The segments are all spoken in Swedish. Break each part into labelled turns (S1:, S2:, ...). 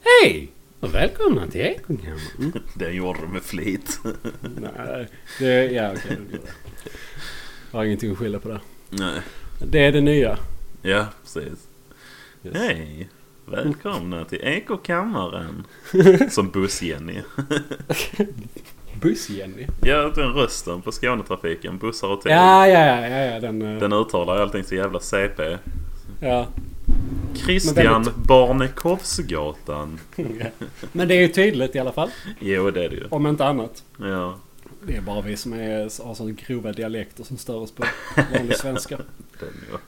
S1: Hej! Och välkomna till Ekokammaren. Mm.
S2: Den gjorde du med flit.
S1: Nej, det, ja okej. det är bra. Jag har ingenting att skylla på det.
S2: Nej.
S1: Det är det nya.
S2: Ja, precis.
S1: Yes.
S2: Hej! Välkomna till Ekokammaren. Som buss-Jenny.
S1: Buss-Jenny.
S2: Ja, den rösten på Skånetrafiken. Bussar och tåg.
S1: Ja, ja, ja, ja, ja den... eh,
S2: Den uttalar allting så jävla CP.
S1: Ja.
S2: Christian Barnekovsgatan.
S1: Men det är ju tydligt i alla fall.
S2: Jo, det är det ju.
S1: Om inte annat.
S2: Ja,
S1: Det är bara vi som är, har sådana grova dialekter som stör oss på vanlig svenska.
S2: det är det ju.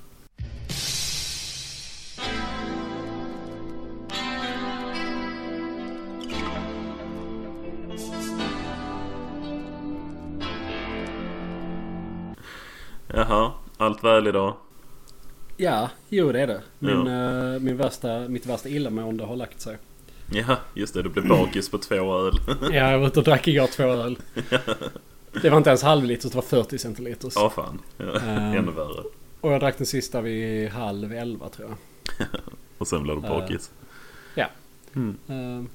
S2: Jaha, allt väl idag?
S1: Ja, jo det är det. Min,
S2: Ja.
S1: eh, min värsta, mitt värsta illamående har lagt sig.
S2: Ja, just det. Du blev bakis på två öl.
S1: Ja, jag var ute och drack igår två öl. Det var inte ens halvliter, det var 40 centiliters.
S2: Ja, fan. Ja,
S1: Ehm.
S2: ännu värre.
S1: Och jag drack den sista vid halv elva tror jag.
S2: Och sen blev du
S1: Eh,
S2: bakis.
S1: Eh,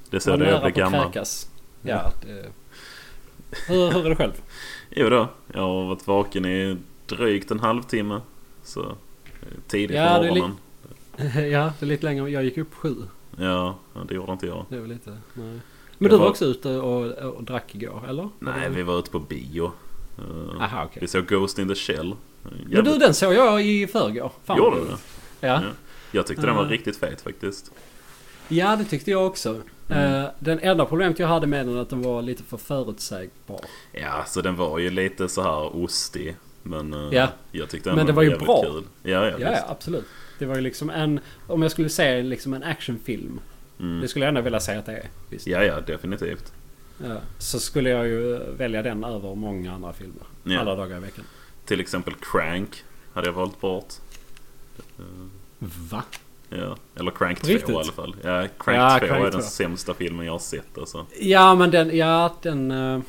S2: Det är så
S1: var
S2: det är
S1: nära
S2: att bli
S1: på att
S2: gammal.
S1: kräkas. Ja, det... Hur, hur är det själv?
S2: Jo då, jag har varit vaken i drygt en halvtimme. Så eh, tidigt
S1: Ja,
S2: på
S1: det är li-
S2: morgonen.
S1: ja, det är lite längre. Jag gick upp sju.
S2: Ja, ja, det gjorde inte jag.
S1: Det var lite... Nej. Men
S2: Jag
S1: du
S2: var-
S1: var också ute och, och drack igår, eller?
S2: Nej, vi var ute på bio. Eh,
S1: Aha, okej.
S2: Vi såg Ghost in the Shell. Jävligt...
S1: Men du, den såg jag i förrgår. Fan,
S2: Gjorde
S1: vad
S2: du det?
S1: roligt. Ja.
S2: Ja. Jag tyckte den var
S1: Eh.
S2: riktigt fet faktiskt.
S1: ja, det tyckte jag också.
S2: Mm.
S1: Eh, den enda problemet jag hade med den är att den var lite för förutsägbar.
S2: Ja, så den var ju lite så här ostig. Men eh,
S1: Ja.
S2: jag tyckte ändå
S1: Men det
S2: den
S1: var ju
S2: jävligt
S1: bra.
S2: Kul. Ja, ja,
S1: Ja, ja,
S2: visst.
S1: absolut. Det var ju liksom en... Om jag skulle säga liksom en actionfilm.
S2: Mm.
S1: Det skulle jag ändå vilja säga att det är. Visst.
S2: ja, ja, definitivt.
S1: Ja, Så skulle jag ju välja den över många andra filmer.
S2: Ja.
S1: Alla dagar i veckan.
S2: Till exempel Crank hade jag valt bort. Eh,
S1: Va?
S2: Ja, eller Crank
S1: På
S2: 2
S1: riktigt?
S2: i alla fall. Ja, Crank
S1: Ja,
S2: 2
S1: Crank
S2: är den
S1: 2.
S2: sämsta filmen jag har sett alltså.
S1: Ja men den, ja den... eh,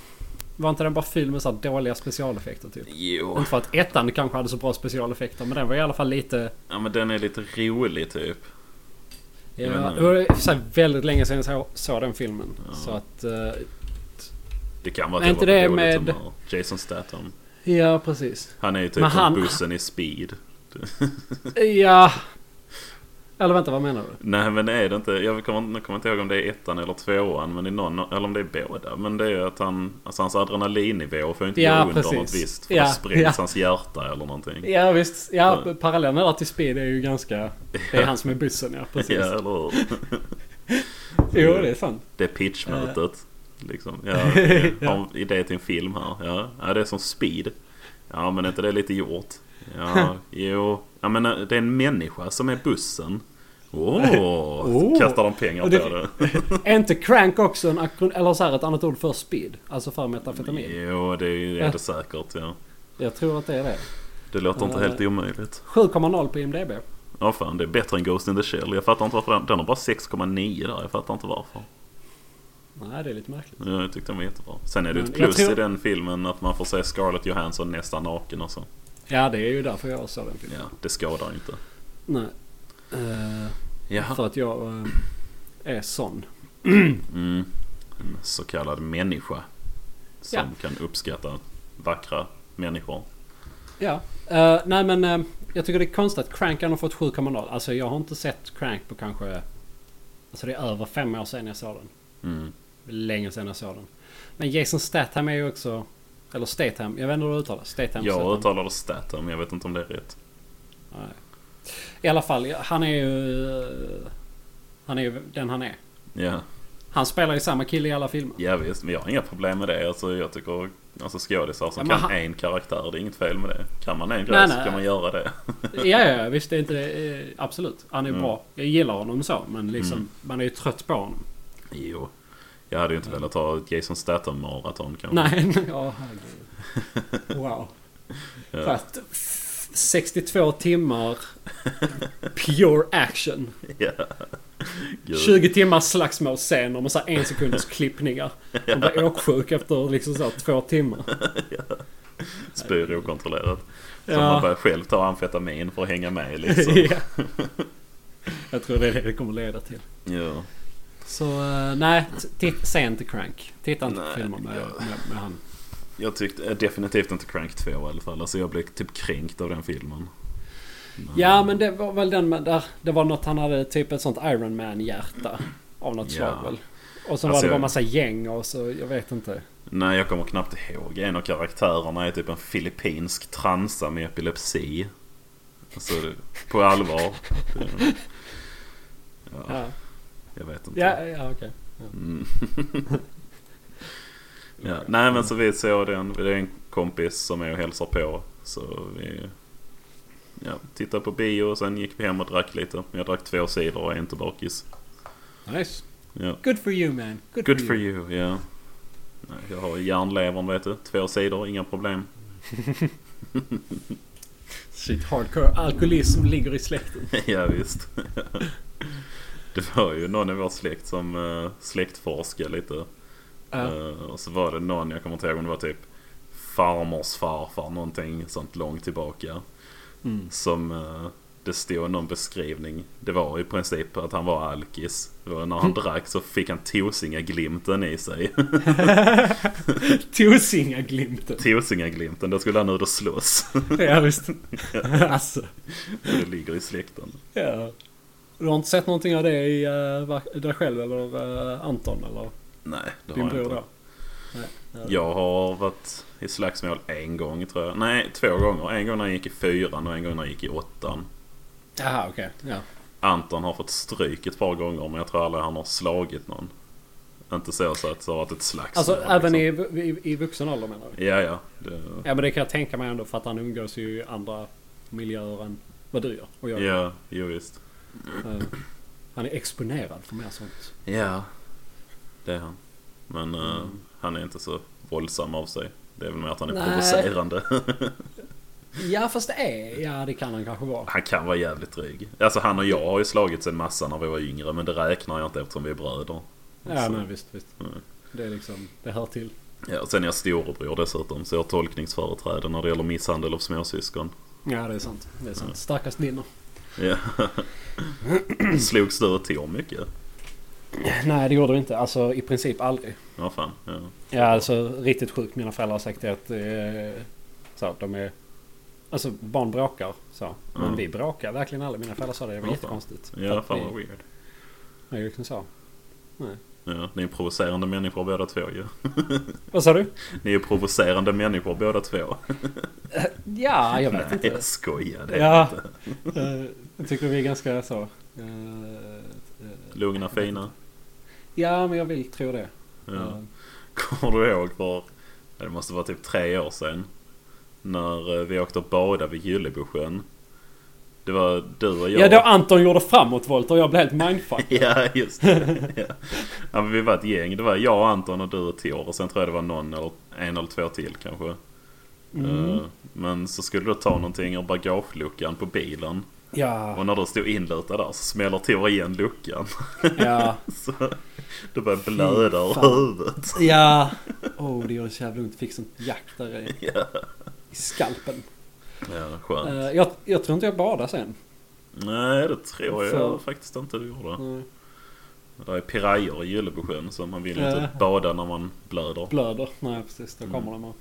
S1: Var inte den bara fylld med så här dåliga specialeffekter typ?
S2: Jo.
S1: Inte för att ettan kanske hade så bra specialeffekter men den var i alla fall lite...
S2: Ja men den är lite rolig typ.
S1: Ja,
S2: Jag vet inte.
S1: det var i och för sig väldigt länge sedan jag såg, såg den filmen.
S2: Ja.
S1: Så att... eh,
S2: Det kan vara
S1: Är
S2: att jag
S1: inte
S2: var på
S1: det
S2: dåligt
S1: med-
S2: humör. Jason Statham.
S1: Ja precis.
S2: Han är ju typ
S1: Men han-
S2: som bussen i Speed.
S1: Ja... Eller vänta vad menar du?
S2: Nej men är det inte. Jag kommer, nu kommer inte ihåg om det är ettan eller tvåan. Men i någon, eller om det är båda. Men det är ju att han, alltså hans adrenalinnivå får ju inte
S1: Ja,
S2: gå under
S1: precis.
S2: något visst. För
S1: Ja,
S2: då sprängs
S1: ja.
S2: hans hjärta eller någonting.
S1: Ja visst. Ja,
S2: Ja.
S1: parallellen där till Speed är ju ganska... Det är han som är bussen ja, precis.
S2: Ja eller hur?
S1: Jo det är sant.
S2: Det är pitchmötet. Liksom. Ja, ja. Har en idé till en film här. Ja. ja, det är som speed. Ja, men är inte det lite gjort? Ja, jo. Ja, men eh, det är en människa som är bussen. Åh!
S1: Åh.
S2: Kastar de pengar på
S1: Och
S2: det?
S1: det- Är inte crank också en akron... Eller så här ett annat ord för speed? Alltså för metamfetamin?
S2: Jo, det är är det säkert. Ja.
S1: Jag tror att det är det.
S2: Det låter inte
S1: Ja.
S2: helt omöjligt.
S1: 7,0 på IMDB.
S2: Ja, fan. Det är bättre än Ghost in the Shell. Jag fattar inte varför den... Den har bara 6,9 där. Jag fattar inte varför.
S1: Nej, det är lite märkligt.
S2: Ja, Jag tyckte den var jättebra. Sen är det
S1: Men
S2: ett
S1: Mm, jag
S2: plus
S1: tror-
S2: i den filmen att man får se Scarlett Johansson nästan naken och så.
S1: Ja, det är ju därför jag såg den filmen.
S2: Ja, det skadar inte.
S1: Nej. Eh,
S2: Jaha.
S1: för att jag eh, är sån.
S2: Mm. En så kallad människa. Som
S1: Ja.
S2: kan uppskatta vackra människor.
S1: Ja. Eh, nej, men eh, jag tycker det är konstigt att Crank har fått 7,0. Alltså jag har inte sett Crank på kanske... Alltså det är över fem år sedan jag såg den.
S2: Mm.
S1: Länge sedan jag såg den. Men Jason Statham är ju också... Eller Statham. Jag vet inte hur det uttalas. Statham.
S2: Jag
S1: Statham.
S2: uttalar det Statham, jag vet inte om det är rätt.
S1: Nej. I alla fall, han är ju... eh, Han är ju den han är.
S2: Ja,
S1: Han spelar ju samma kille i alla filmer.
S2: ja visst, men jag har inga problem med det. Alltså, jag tycker alltså, skådisar som
S1: Ja, men
S2: kan
S1: han-
S2: en karaktär, det är inget fel med det. Kan man en
S1: Nej,
S2: grej så
S1: nej.
S2: kan man göra det.
S1: Ja, ja, ja, visst. Det är inte det. eh, Absolut. Han är ju
S2: Mm.
S1: bra. Jag gillar honom så, men liksom... Man är ju trött på honom.
S2: Jo. Jag hade ju inte velat ha ett Jason Statham-maraton kanske.
S1: Nej, nej, ja, herregud. Wow.
S2: Ja.
S1: Fast f- 62 timmar pure action.
S2: Ja. Gud.
S1: 20 timmars slagsmålsscener med så här en sekunders klippningar. De blir åksjuk efter liksom så här två timmar.
S2: Spyr okontrollerat. Så
S1: Ja.
S2: man börjar själv ta amfetamin för att hänga med liksom.
S1: ja. Jag tror det är det det kommer leda till.
S2: Ja.
S1: Så eh, nej, t- se inte Crank. Titta inte på
S2: Nej,
S1: filmer med,
S2: jag-
S1: med, med han.
S2: Jag tyckte eh, definitivt inte Crank 2 i alla fall. Alltså jag blev typ kränkt av den filmen. Men-
S1: Ja men det var väl den med där. Det var något han hade typ ett sånt Iron Man hjärta. Av något
S2: Ja.
S1: slag väl. Och så var
S2: Alltså,
S1: det bara
S2: jag-
S1: massa gäng och så jag vet inte.
S2: Nej, jag kommer knappt ihåg. En av karaktärerna är typ en filippinsk transa med epilepsi. Alltså, på allvar. Ja,
S1: Ja,
S2: jag vet inte.
S1: ja, ja okej.
S2: Mm. ja. Nej, men så vi såg den. Det är en kompis som är och hälsar på. Så vi ja, tittade på bio och sen gick vi hem och drack lite. Jag drack två sidor och är inte bakis.
S1: Nice.
S2: Ja.
S1: Good for you man. Good,
S2: Good for you, ja. Nej, jag har järnlevern vet du. Två sidor, inga problem.
S1: Shit hardcore alkoholism ligger i släkten.
S2: Ja visst. Det var ju någon i vår släkt som eh, släktforskade lite.
S1: Ja.
S2: Eh, Och så var det någon, jag kommer inte ihåg om det var typ farmors farfar, någonting sånt långt tillbaka.
S1: Mm.
S2: Som eh, det stod någon beskrivning. Det var i princip att han var alkis. Det var när han drack så fick han Tosinga-glimten i sig.
S1: Tosinga-glimten.
S2: Tosinga-glimten, då skulle han ut och slåss.
S1: Ja visst. alltså.
S2: Det ligger i släkten.
S1: Ja. Du har inte sett någonting av det i eh, va- dig själv eller eh, Anton eller
S2: Nej, det har
S1: din
S2: jag
S1: bror
S2: inte.
S1: då? Nej. Ja.
S2: Jag har varit i slagsmål en gång tror jag. Nej, två gånger. En gång när jag gick i fyran och en gång när jag gick i åttan.
S1: Jaha okej. Ja.
S2: Anton har fått stryk ett par gånger men jag tror aldrig han har slagit någon. Inte så, så att det har varit ett slagsmål.
S1: Alltså
S2: liksom.
S1: även i, i, i vuxen ålder menar du?
S2: Ja, ja. Det...
S1: Ja men det kan jag tänka mig ändå för att han umgås ju i andra miljöer än vad du gör. Och jag, gör.
S2: Ja, jo visst.
S1: Eh, Han är exponerad för mer sånt.
S2: Ja. Det är han. Men eh, han är inte så våldsam av sig. Det är väl mer att han är
S1: Nej.
S2: provocerande.
S1: Ja fast det är, ja det kan han kanske vara.
S2: Han kan vara jävligt dryg. Alltså han och jag har ju slagits en massa när vi var yngre men det räknar jag inte eftersom vi är bröder.
S1: Ja
S2: Så-
S1: nej visst, visst.
S2: Mm.
S1: Det är liksom, det hör till.
S2: Ja, och sen är jag storebror dessutom så jag har tolkningsföreträde när det gäller misshandel av småsyskon.
S1: Ja det är sant. Det är sant. Starkast vinner.
S2: Ja. Slogs du och Tor mycket?
S1: Nej det gjorde vi inte. Alltså i princip aldrig.
S2: Ja fan. Ja.
S1: Ja alltså riktigt sjukt. Mina föräldrar har sagt det att eh, så, här, de är... Alltså barn bråkar så. Men
S2: Mm.
S1: vi bråkar verkligen aldrig. Mina föräldrar sa det. Det var
S2: Ja, fan.
S1: jättekonstigt. För
S2: ja
S1: att
S2: fan
S1: vi-
S2: vad weird.
S1: Det är ju liksom så.
S2: Ja, ni är provocerande människor båda två ju.
S1: Vad sa du?
S2: Ni är provocerande människor båda två.
S1: Ja, jag vet
S2: Nej
S1: inte.
S2: jag skojar. Det är
S1: Ja,
S2: inte.
S1: eh, jag tycker vi är ganska så. eh, eh,
S2: Lugna fina.
S1: Ja, men jag vill tro det.
S2: Ja.
S1: Eh,
S2: Kommer du ihåg för, det måste vara typ tre år sedan. När eh, vi åkte och badade vid Gyllebosjön. Det var du och jag.
S1: Ja, då Anton gjorde framåtvolt och jag blev helt mindfuck.
S2: Ja, just det. Ja. Ja, men vi var ett gäng. Det var jag, Anton och du och Tor. Och sen tror jag det var någon eller en eller två till kanske.
S1: Mm.
S2: Eh, Men så skulle du ta någonting ur bagageluckan på bilen.
S1: Ja,
S2: Och när du stod inlutad där så smäller Tor igen luckan.
S1: ja,
S2: Så du börjar blöda ur
S1: fan.
S2: huvudet.
S1: ja. Oh, det gjorde så jävla ont. Fick sånt jack där i,
S2: Ja,
S1: i skalpen.
S2: ja skönt.
S1: Eh, jag, jag tror inte jag badade sen.
S2: Nej, det tror jag
S1: för-
S2: faktiskt inte du gjorde.
S1: Mm.
S2: Det är pirayor i Gyllebosjön så man vill ju
S1: Ja.
S2: inte bada när man blöder.
S1: Blöder. Nej, precis. Då kommer de. Och,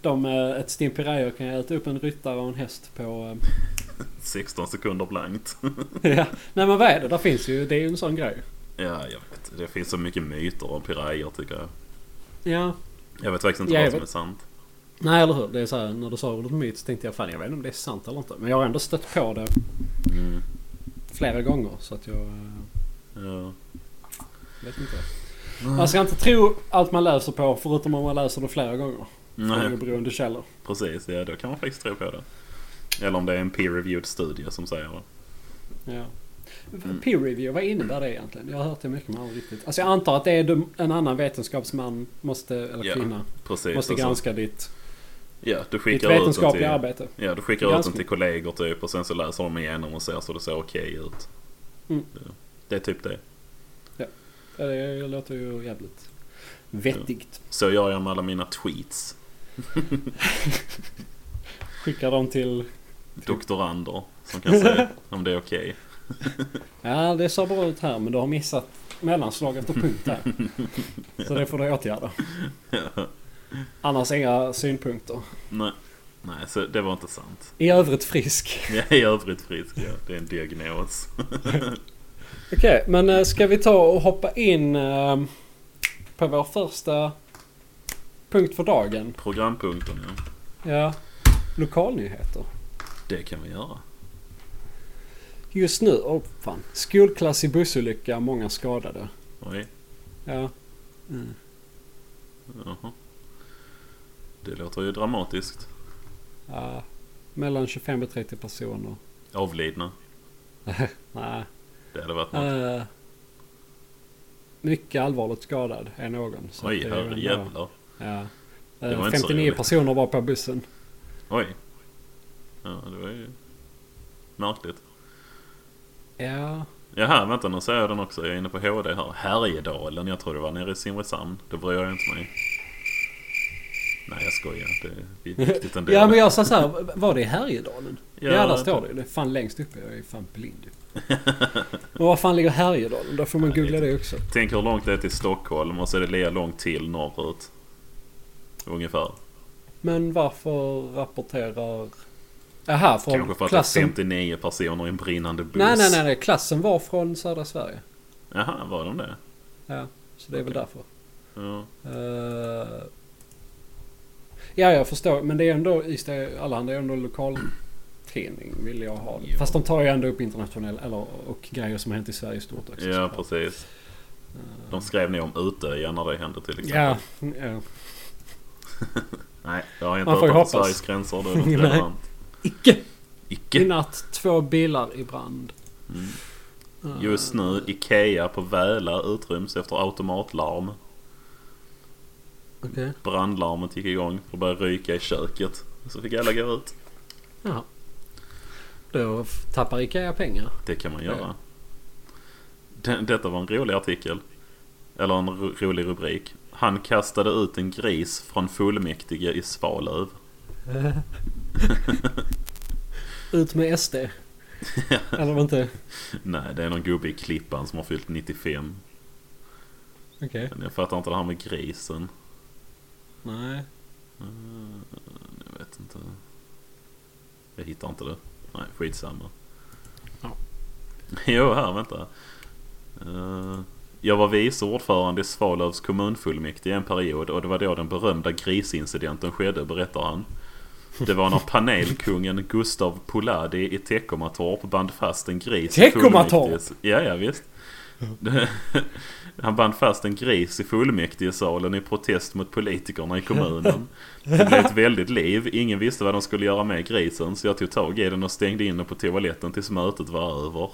S1: de eh, ett stimpirajer kan jag äta upp en ryttare och en häst på... eh,
S2: 16 sekunder blankt.
S1: ja. Nej, men vad är det? Där finns ju... Det är ju en sån grej.
S2: Ja, jag vet. Det finns så mycket myter om pirayor tycker jag.
S1: Ja,
S2: Jag vet faktiskt inte
S1: Ja, jag
S2: vad som
S1: vet.
S2: är sant.
S1: Nej eller hur. Det är så här, när du sa ordet myt så tänkte jag fan jag vet inte om det är sant eller inte. Men jag har ändå stött på det
S2: Mm.
S1: flera gånger så att jag eh,
S2: Ja.
S1: vet inte. Man ska inte tro allt man läser på förutom om man läser det flera gånger. Från
S2: Nej,
S1: oberoende källor.
S2: precis. Ja, då kan man faktiskt tro på det. Eller om det är en peer-reviewed studie som säger det.
S1: Ja. Mm. Peer review, vad innebär det egentligen? Jag har hört det mycket men aldrig riktigt. Alltså jag antar att det är de- en annan vetenskapsman måste, eller
S2: Ja,
S1: kvinna,
S2: Precis.
S1: måste
S2: alltså.
S1: granska ditt,
S2: Ja, du
S1: ditt
S2: skickar ut den till,
S1: vetenskapliga arbete.
S2: ja, du skickar ut den
S1: Granskning.
S2: till kollegor typ och sen så läser de igenom och ser så det ser okej ut.
S1: Mm.
S2: Ja. Det är typ det.
S1: Ja, Det låter ju jävligt vettigt.
S2: Så gör jag med alla mina tweets.
S1: Skickar dem till...
S2: Doktorander som kan säga om det är okej.
S1: Ja, det ser bra ut här men du har missat mellanslag efter punkt där. Så det får du åtgärda.
S2: Ja.
S1: Annars inga synpunkter.
S2: Nej. Nej, så det var inte sant.
S1: I övrigt frisk.
S2: Jag är i övrigt frisk. Ja. Det är en diagnos.
S1: Okej, men eh, ska vi ta och hoppa in eh, på vår första punkt för dagen?
S2: Programpunkten, ja.
S1: Ja, lokalnyheter.
S2: Det kan vi göra.
S1: Just nu, åh fan. Skolklass i bussolycka, många skadade.
S2: Oj.
S1: Ja,
S2: Jaha. Det låter ju dramatiskt.
S1: ja. mellan 25 och 30 personer.
S2: Avlidna.
S1: Nej.
S2: Det hade varit något.
S1: eh, mycket allvarligt skadad är någon. så att
S2: Oj,
S1: det är ju ändå-
S2: herrejävlar.
S1: Ja.
S2: var
S1: Eh,
S2: inte så
S1: 59
S2: roligt.
S1: personer var på bussen.
S2: Oj. Ja, det var ju märkligt.
S1: Ja.
S2: Jaha, vänta nu säger jag den också. Jag är inne på HD här. Härjedalen. Jag tror det var nere i Simrishamn. Det bryr jag inte mig. Nej, jag skojar. Det är viktigt ändå.
S1: ja men jag sa så här, var det i Härjedalen? Ja,
S2: Ja,
S1: där står det ju. Det är fan längst uppe. Jag är fan blind ju. Men var fan ligger Härjedalen? Där får man
S2: Ja, det är
S1: googla
S2: inte-
S1: det också.
S2: Tänk hur långt det är till Stockholm och så är det lika långt till norrut. Ungefär.
S1: Men varför rapporterar... Jaha,
S2: Kanske
S1: från
S2: för att det är
S1: klassen...
S2: 59 personer i en brinnande buss.
S1: Nej, nej, nej, nej. Klassen var från södra Sverige.
S2: Jaha, var de det?
S1: Ja, så det är väl därför.
S2: Ja.
S1: Eh, Ja, jag förstår. Men det är ändå Ystad Allehanda är ändå en lokaltidning vill jag ha.
S2: Jo.
S1: Fast de tar ju ändå upp internationella eller, och grejer som har hänt i Sverige i stort också.
S2: Ja,
S1: såklart.
S2: precis. De liksom. skrev ner om Utöya när det hände till exempel.
S1: Eh, Ja, ja.
S2: Nej, jag har inte
S1: Man
S2: hört
S1: får ju
S2: om
S1: hoppas.
S2: Sveriges gränser. Det är inte
S1: Nej.
S2: relevant.
S1: Icke! I
S2: Icke.
S1: natt två bilar i brand.
S2: Mm.
S1: Eh,
S2: Just nu, Ikea på Väla utryms efter automatlarm.
S1: Okej.
S2: Brandlarmet gick igång och började ryka i köket. Så fick alla gå ut.
S1: Ja. Då f- tappar Ikea pengar.
S2: Det kan man göra.
S1: Ja.
S2: Den, detta var en rolig artikel. Eller en ro- rolig rubrik. Han kastade ut en gris från fullmäktige i Svalöv.
S1: Ut med SD. Eller var inte...
S2: Nej, det är någon gubbe i Klippan som har fyllt 95.
S1: Okej.
S2: Men jag fattar inte det här med grisen.
S1: Nej.
S2: Mm, Jag vet inte. Jag hittar inte det. Nej, skitsamma.
S1: Ja.
S2: Jo, här, vänta. Eh, Jag var vice ordförande i Svalövs kommunfullmäktige en period och det var då den berömda grisincidenten skedde, berättar han. Det var när panelkungen Gustav Poladi i Teckomatorp band fast en gris i
S1: Teckomatorp?
S2: fullmäktiges- Ja, ja, visst. Han band fast en gris i fullmäktigesalen i protest mot politikerna i kommunen. Det blev ett väldigt liv. Ingen visste vad de skulle göra med grisen så jag tog tag i den och stängde in den på toaletten tills mötet var över.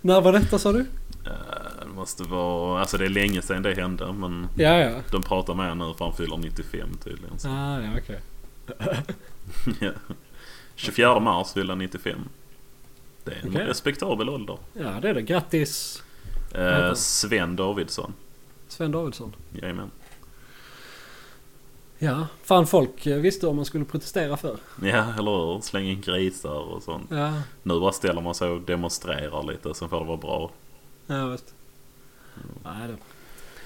S1: När var detta sa du?
S2: Eh, Det måste vara... Alltså det är länge sedan det hände men
S1: Ja, ja.
S2: de pratar med honom nu för han fyller 95 tydligen. Så.
S1: Ah, ja, okej.
S2: Ja. 24 mars fyller han 95. Det är en
S1: Okej.
S2: respektabel ålder.
S1: Ja, det är det. Grattis
S2: Eh, Sven Davidsson.
S1: Sven Davidsson.
S2: Jajamän.
S1: Ja, fan folk eh, visste vad man skulle protestera för.
S2: Ja, eller hur? Släng in grisar och sånt.
S1: Ja,
S2: Nu bara ställer man sig och demonstrerar lite, sen får det vara bra.
S1: ja visst. Nej, det.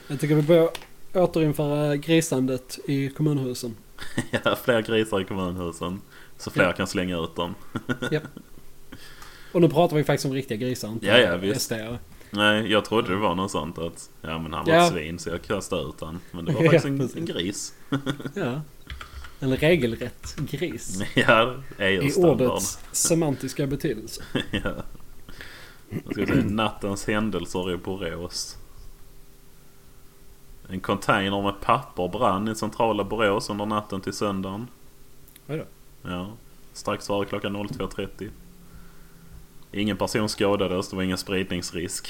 S1: Jag tycker vi bör återinföra grisandet i kommunhusen.
S2: Ja, fler grisar i kommunhusen. Så fler
S1: Ja.
S2: kan slänga ut dem.
S1: Och nu pratar vi faktiskt om riktiga grisar, inte
S2: Ja, ja, visst.
S1: SD -are.
S2: Nej, jag trodde det var något sånt att ja men han var
S1: Ja.
S2: ett svin så jag kastade ut han. Men det var
S1: Ja,
S2: faktiskt en,
S1: precis.
S2: en gris.
S1: Ja. En regelrätt gris.
S2: Ja,
S1: I
S2: EU-standard.
S1: ordets semantiska betydelse.
S2: Ja. Jag ska säga nattens händelser i Borås. En container med papper brann i centrala Borås under natten till söndagen.
S1: Oj då.
S2: Ja. Strax före klockan 02.30. Ingen person skadades, det var ingen spridningsrisk.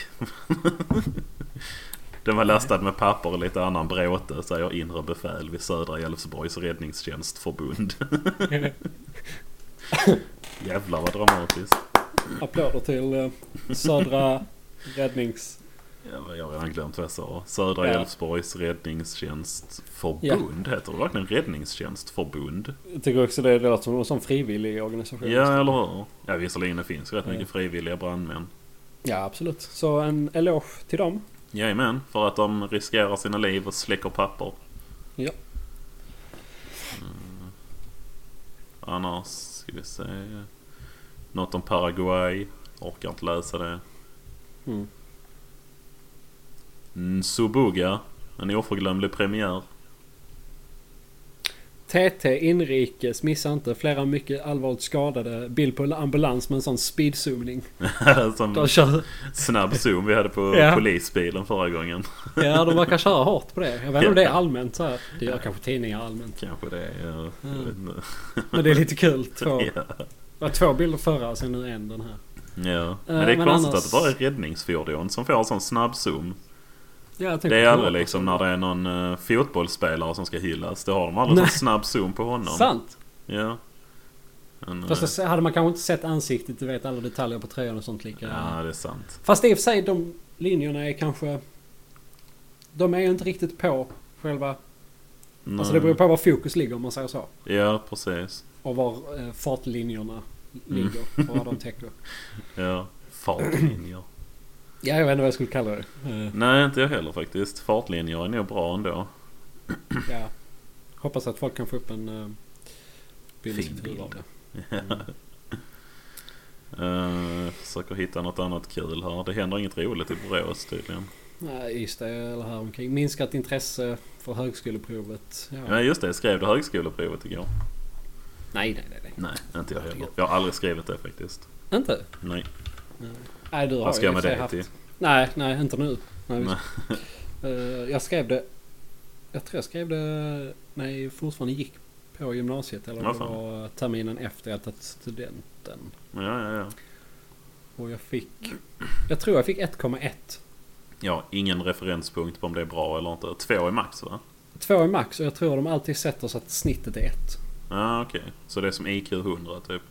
S2: Den var lastad med papper och lite annan bråte, säger inre befäl vid Södra Älvsborgs räddningstjänstförbund. Jävlar vad dramatiskt.
S1: Applåder till eh, Södra Räddnings...
S2: Ja, men Jag har redan glömt vad jag sa. Södra
S1: Ja.
S2: Älvsborgs räddningstjänstförbund. Heter det verkligen räddningstjänstförbund?
S1: Jag tycker också det låter som en sån frivillig organisation.
S2: Ja, eller hur? Ja, visserligen det finns rätt mycket frivilliga brandmän.
S1: Ja, absolut. Så en eloge till dem.
S2: Jajamän, för att de riskerar sina liv och släcker papper.
S1: Ja.
S2: Mm. Annars ska vi se. Något om Paraguay. Orkar inte läsa det.
S1: Mm.
S2: Nsubuga. En oförglömlig premiär.
S1: TT inrikes, missa inte. Flera mycket allvarligt skadade. Bild på en ambulans med en sån speedzoomning. De
S2: Som
S1: kör,
S2: snabb zoom vi hade på
S1: Ja.
S2: polisbilen förra gången.
S1: ja, de verkar köra hårt på det. Jag vet inte om det är allmänt så här. Det gör kanske tidningar allmänt.
S2: Kanske det. Ja. Jag
S1: Mm.
S2: vet inte.
S1: Men det är lite kul. Två,
S2: Ja.
S1: det var två bilder förra och sen nu en den här.
S2: Ja. Men det är
S1: Eh, men
S2: konstigt
S1: annars-
S2: att det bara är räddningsfordon som får sån snabb zoom.
S1: Ja, jag tänker
S2: Det är
S1: på
S2: aldrig
S1: det.
S2: liksom när det är någon eh, fotbollsspelare som ska hyllas. Det har de aldrig
S1: Nej.
S2: sån snabb zoom på honom.
S1: Sant!
S2: Ja. Men, eh,
S1: Fast så hade man kanske inte sett ansiktet, du vet alla detaljer på tröjan och sånt lika.
S2: Ja, det är sant.
S1: Fast i och för sig de linjerna är kanske... De är ju inte riktigt på själva... Alltså det beror på var fokus ligger om man säger så.
S2: Ja, precis.
S1: Och var eh, fartlinjerna
S2: Mm.
S1: ligger och vad de täcker.
S2: Ja. Fartlinjer.
S1: Ja, jag vet inte vad jag skulle kalla det. Eh,
S2: Nej, inte jag heller faktiskt. Fartlinjer är nog bra ändå.
S1: ja. Hoppas att folk kan få upp en eh, bild i
S2: Fin
S1: sitt huvud av
S2: bild.
S1: det. Mm.
S2: Uh, försöker hitta något annat kul här. Det händer inget roligt i Borås tydligen.
S1: Nej, just det. Eller här omkring. Minskat intresse för högskoleprovet. Ja.
S2: Ja, just det. Jag skrev du högskoleprovet igår?
S1: Nej, nej, nej. nej.
S2: Nej, inte jag heller. Jag har aldrig skrivit det faktiskt.
S1: Inte?
S2: Nej.
S1: Nej, du har
S2: Vad ska
S1: ju
S2: jag med
S1: i och för sig
S2: det till?
S1: Nej, nej, inte nu. Nej, visst. Eh, jag skrev det... Jag tror jag skrev det när jag fortfarande gick på gymnasiet. Eller om
S2: Vad
S1: det
S2: fan.
S1: var terminen efter jag tagit studenten.
S2: Ja, ja, ja.
S1: Och jag fick... Jag tror jag fick 1,1.
S2: Ja, ingen referenspunkt på om det är bra eller inte. Två är max va?
S1: Två är max och jag tror de alltid sätter så att snittet är ett.
S2: Ja, okej. Så det är som IQ 100 typ?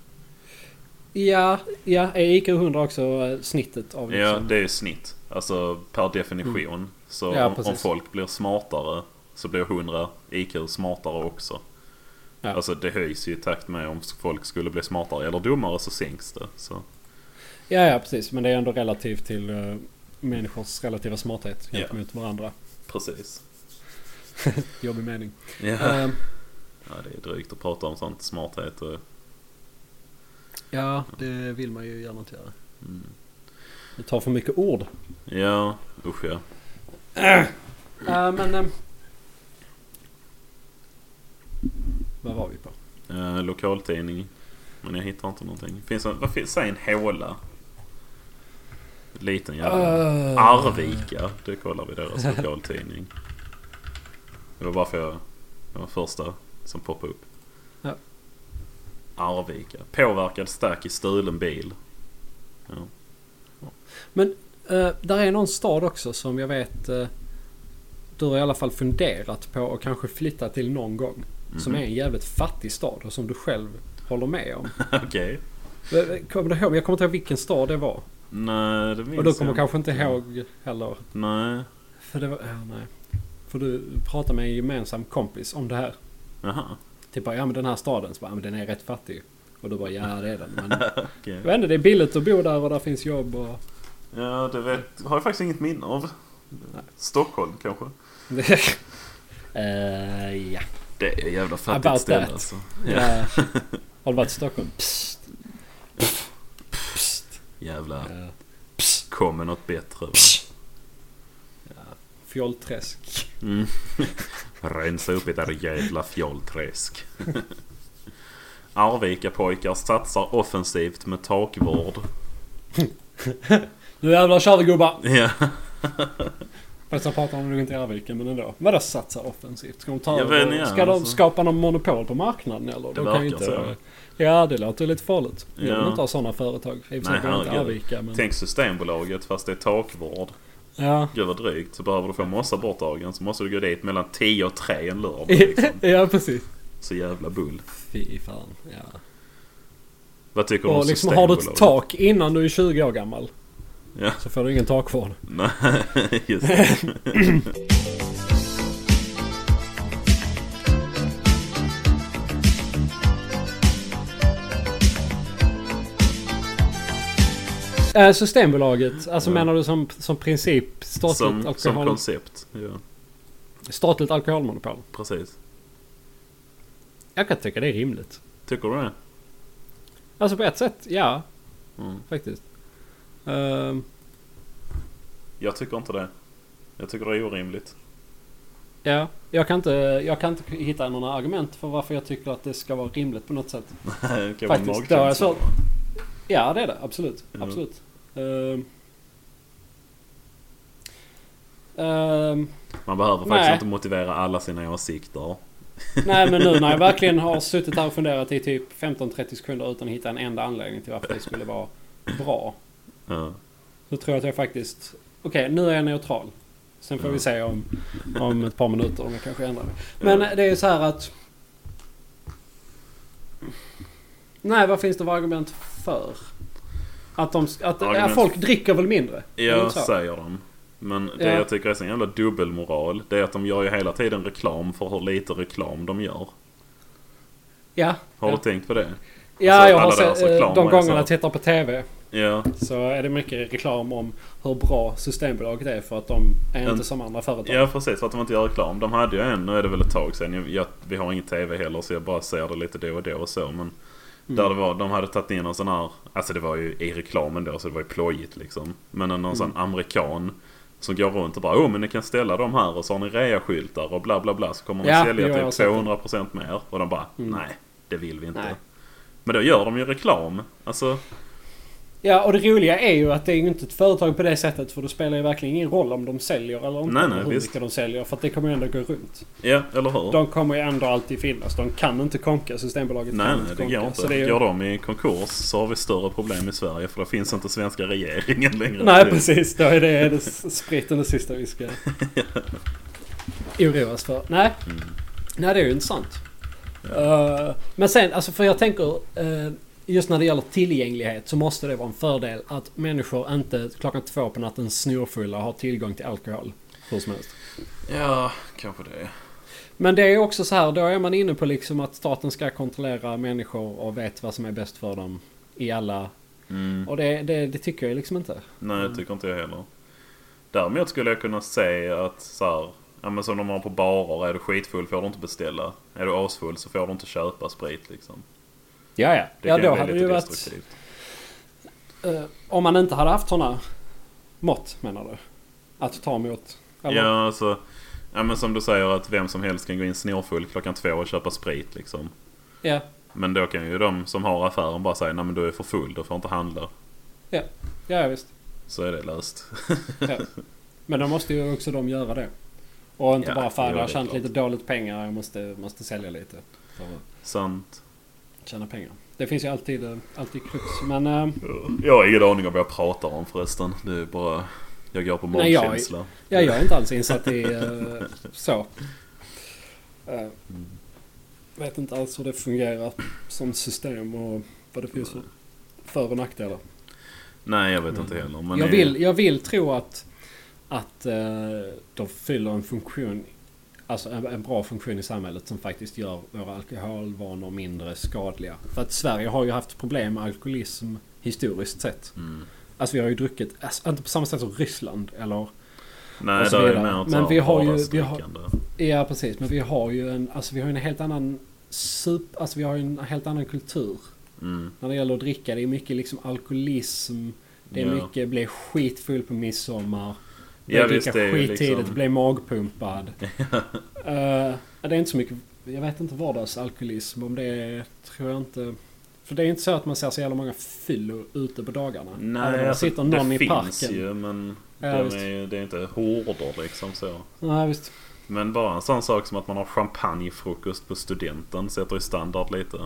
S1: Ja, ja, är IQ 100 också eh, snittet av Mm.
S2: Ja, det är ju snitt. Alltså per definition. Så
S1: Ja,
S2: om, om
S1: precis.
S2: folk blir smartare så blir 100 IQ smartare också.
S1: Ja.
S2: Alltså det höjs ju i takt med om folk skulle bli smartare eller dummare så sänks det. Så.
S1: ja, ja, precis. Men det är ändå relativt till eh, människors relativa smarthet
S2: Ja.
S1: gentemot varandra.
S2: Precis.
S1: Jobbig mening.
S2: Ja.
S1: Eh,
S2: ja, det är drygt att prata om sånt smarthet och...
S1: ja, det vill man ju gärna inte göra.
S2: Mm.
S1: Det tar för mycket ord.
S2: Ja, usch ja.
S1: Eh, men... ehm, vad var vi på?
S2: Eh, lokaltidning. Men jag hittar inte någonting. Finns en, vad finns, säg en håla. Liten jävla.
S1: Eh,
S2: Arvika. Det kollar vi deras lokaltidning. Det var varför jag det var första som poppade upp.
S1: Ja.
S2: Arvika. Påverkad stack i stulen bil. Ja.
S1: Eh, där är någon stad också som jag vet eh, du har i alla fall funderat på och kanske flyttat till någon gång. Som
S2: Mhm. Mm.
S1: är en jävligt fattig stad och som du själv håller med om.
S2: Okej.
S1: Eh, Kommer du ihåg? Jag kommer inte ihåg vilken stad det var.
S2: Nej, det minns
S1: Och du kommer
S2: jag
S1: kanske inte
S2: Ja.
S1: ihåg heller.
S2: Nej.
S1: För det var... Ja, nej. För du pratade med en gemensam kompis om det här.
S2: Jaha.
S1: Typ bara, ja men den här staden, så bara, ja, men den är rätt fattig. Och du bara, ja det är den. Men
S2: Okej.
S1: jag vet inte, det är billigt att bo där och där finns jobb och...
S2: Ja, det vet, har jag faktiskt inget minne av. Stockholm kanske?
S1: Eh, ja.
S2: Det är ett jävla fattigt
S1: About
S2: ställe
S1: that.
S2: alltså.
S1: ja. Har du varit i Stockholm? Psst. Psst.
S2: Jävla...
S1: Ja.
S2: Kommer något bättre va?
S1: Fjollträsk.
S2: Mm. Rensa upp i det där jävla fjollträsk. Arvika pojkar satsar offensivt med takvård.
S1: Nu jävlar kör vi gubbar!
S2: Ja,
S1: Fast jag pratar om det inte i Arvika, men ändå. Vadå satsa offensivt? Ska de, ta
S2: Jag vet
S1: över-
S2: inte,
S1: ska de
S2: alltså.
S1: skapa någon monopol på marknaden eller?
S2: Det
S1: de kan ju
S2: verkar så.
S1: Ja, det låter lite farligt. Jag vill
S2: Ja.
S1: inte ha sådana företag. I och för
S2: Nej,
S1: sig behöver inte
S2: herregud.
S1: Arvika, men...
S2: tänk Systembolaget fast det är takvård.
S1: Ja.
S2: Gud vad drygt. Så behöver du få mossa bort dagen så måste du gå dit mellan 10 och 3 en lördag. Liksom.
S1: ja, precis.
S2: Så jävla bull.
S1: Fy fan. Ja.
S2: Vad tycker du om
S1: Och liksom har du ett
S2: Systembolaget?
S1: tak innan du är 20 år gammal.
S2: Ja.
S1: Så får du ingen takvård.
S2: Nej, just det.
S1: Äh, systembolaget, alltså
S2: Ja.
S1: menar du som, som princip statligt,
S2: Som, som
S1: alkohol,
S2: koncept. Ja,
S1: statligt alkoholmonopol?
S2: precis.
S1: Jag kan tycka det är rimligt.
S2: Tycker du det?
S1: Alltså på ett sätt, ja
S2: Mm.
S1: faktiskt. Ehm,
S2: Jag tycker inte det. Jag tycker det är orimligt.
S1: ja, jag kan, inte, jag kan inte hitta några argument för varför jag tycker att det ska vara rimligt på något sätt.
S2: det kan vara en
S1: Faktiskt, det har jag
S2: magkänsla.
S1: svårt. Ja, det är det. Absolut.
S2: Ja.
S1: Absolut. Ehm. Ehm,
S2: Man behöver faktiskt
S1: Nej.
S2: inte motivera alla sina åsikter.
S1: nej, men nu när jag verkligen har suttit här och funderat i typ 15-30 sekunder utan att hitta en enda anledning till varför det skulle vara bra.
S2: Ja.
S1: Så tror jag att jag faktiskt... Okej, nu är jag neutral. Sen får
S2: Ja.
S1: vi se om, om ett par minuter om jag kanske ändrar mig. Men det är ju så här att... Nej, vad finns det för argument för? Att, de, sk- att ja,
S2: Argument-
S1: folk dricker väl mindre? Är det
S2: Jag
S1: så?
S2: säger dem. Men det
S1: Ja.
S2: jag tycker är sån jävla dubbelmoral. Det är att de gör ju hela tiden reklam för hur lite reklam de gör.
S1: Ja,
S2: Har
S1: Ja.
S2: du tänkt på det?
S1: ja
S2: Alltså,
S1: jag har
S2: alla deras
S1: sett eh,
S2: reklam
S1: de
S2: var ju så.
S1: gångerna jag tittar på TV
S2: Ja,
S1: så är det mycket reklam om hur bra Systembolaget är för att de är
S2: En-
S1: inte som andra företag.
S2: ja precis. För att de inte gör reklam. De hade ju en, nu är det väl ett tag sedan. Jag, jag, vi har ingen TV heller så jag bara ser det lite då och då och så.
S1: Mm.
S2: Men där det var, de hade tagit in en sån här, alltså det var ju i reklamen då så det var ju plojigt liksom. Men
S1: Mm.
S2: en någon sån amerikan som går runt och bara åh men ni kan ställa dem här och så har ni reaskyltar och bla bla bla. Så kommer de
S1: Ja, jo, jag
S2: sälja
S1: har
S2: typ
S1: sett det.
S2: 200% mer. Och de bara nej, det vill vi inte.
S1: Nej.
S2: Men då gör de ju reklam. Alltså,
S1: Ja, och det roliga är ju att det är ju inte ett företag på det sättet för det spelar ju verkligen ingen roll om de säljer eller inte.
S2: Nej,
S1: eller
S2: nej,
S1: hur
S2: visst.
S1: mycket de säljer för att det kommer ju ändå gå runt.
S2: ja eller hur?
S1: De kommer ju ändå alltid finnas. De kan inte konka. Systembolaget
S2: Nej,
S1: kan inte
S2: nej, det
S1: konka.
S2: går
S1: Så
S2: inte.
S1: det är ju...
S2: Går de i konkurs så har vi större problem i Sverige för då finns inte svenska regeringen längre.
S1: Nej, precis. Då är det, det spriten det sista vi ska oroas för. Nej, nej det är ju intressant. Eh, men sen, alltså för jag tänker eh, just när det gäller tillgänglighet så måste det vara en fördel att människor inte klockan två på natten snorfulla har tillgång till alkohol. Hur som helst.
S2: Ja, kanske det.
S1: Men det är också så här, då är man inne på liksom att staten ska kontrollera människor och vet vad som är bäst för dem i alla...
S2: Mm.
S1: Och det, det, det tycker jag liksom inte.
S2: Nej, det tycker inte jag heller. Däremot skulle jag kunna säga att så här, ja, men som de har på barer, är du skitfull får du inte beställa. Är du asfull så får du inte köpa sprit liksom.
S1: Ja, ja.
S2: Det
S1: ja,
S2: kan ju
S1: då
S2: bli
S1: hade det
S2: lite
S1: ju varit...
S2: destruktivt.
S1: Eh, om man inte hade haft sådana mått menar du? Att ta emot? Eller?
S2: Ja, alltså, ja, men som du säger att vem som helst kan gå in snorfull klockan två och köpa sprit liksom.
S1: Ja.
S2: Men då kan ju de som har affären bara säga nej men du är för full, du får inte handla.
S1: Ja, ja visst.
S2: Så är det löst.
S1: Ja. Men då måste ju också de göra det. Och inte
S2: Ja,
S1: bara fan jag
S2: jo,
S1: har
S2: det är
S1: tjänat
S2: klart.
S1: lite dåligt pengar. Jag måste, måste sälja lite. För att
S2: Sant.
S1: tjäna pengar. Det finns ju alltid, eh, alltid krux. Men eh,
S2: Jag har ingen aning om vad jag pratar om förresten. Det är bara... Jag går på
S1: Nej, jag-
S2: magkänsla.
S1: ja, jag är inte alls insatt i eh, så. Eh,
S2: Mm.
S1: vet inte alls hur det fungerar som system och vad det finns för för och nackdelar.
S2: Nej, jag vet inte heller. Men
S1: Mm. jag,
S2: det-
S1: vill, jag vill tro att, att eh, de fyller en funktion, alltså en, en bra funktion i samhället som faktiskt gör våra alkoholvanor mindre skadliga. För att Sverige har ju haft problem med alkoholism historiskt sett.
S2: Mm.
S1: Alltså vi har ju druckit, alltså, inte på samma sätt som Ryssland eller...
S2: Nej,
S1: och så
S2: där är
S1: vidare.
S2: mer
S1: Men vi har ju- vi har-
S2: vardagsdrickande.
S1: Ja precis, men vi har ju en, alltså vi har ju en helt annan sup, alltså vi har ju en helt annan kultur.
S2: Mm.
S1: När det gäller att dricka, det är mycket liksom alkoholism. Det är
S2: Ja.
S1: mycket bli skitfull på midsommar.
S2: Ja,
S1: Ja,
S2: visst,
S1: dricka
S2: det är ju
S1: skittidigt,
S2: liksom-
S1: bli magpumpad. Eh, det är inte så mycket... Jag vet inte vardagsalkoholism om det är, tror jag inte... För det är inte så att man ser så jävla många fyllor ute på dagarna. Även om
S2: Nej,
S1: det
S2: alltså,
S1: sitter någon
S2: det
S1: i
S2: finns
S1: parken.
S2: ju men...
S1: Ja,
S2: de
S1: visst.
S2: är, ju- det är inte horder liksom så.
S1: Nej, visst.
S2: Men bara en sån sak som att man har champagnefrukost på studenten sätter ju standard lite.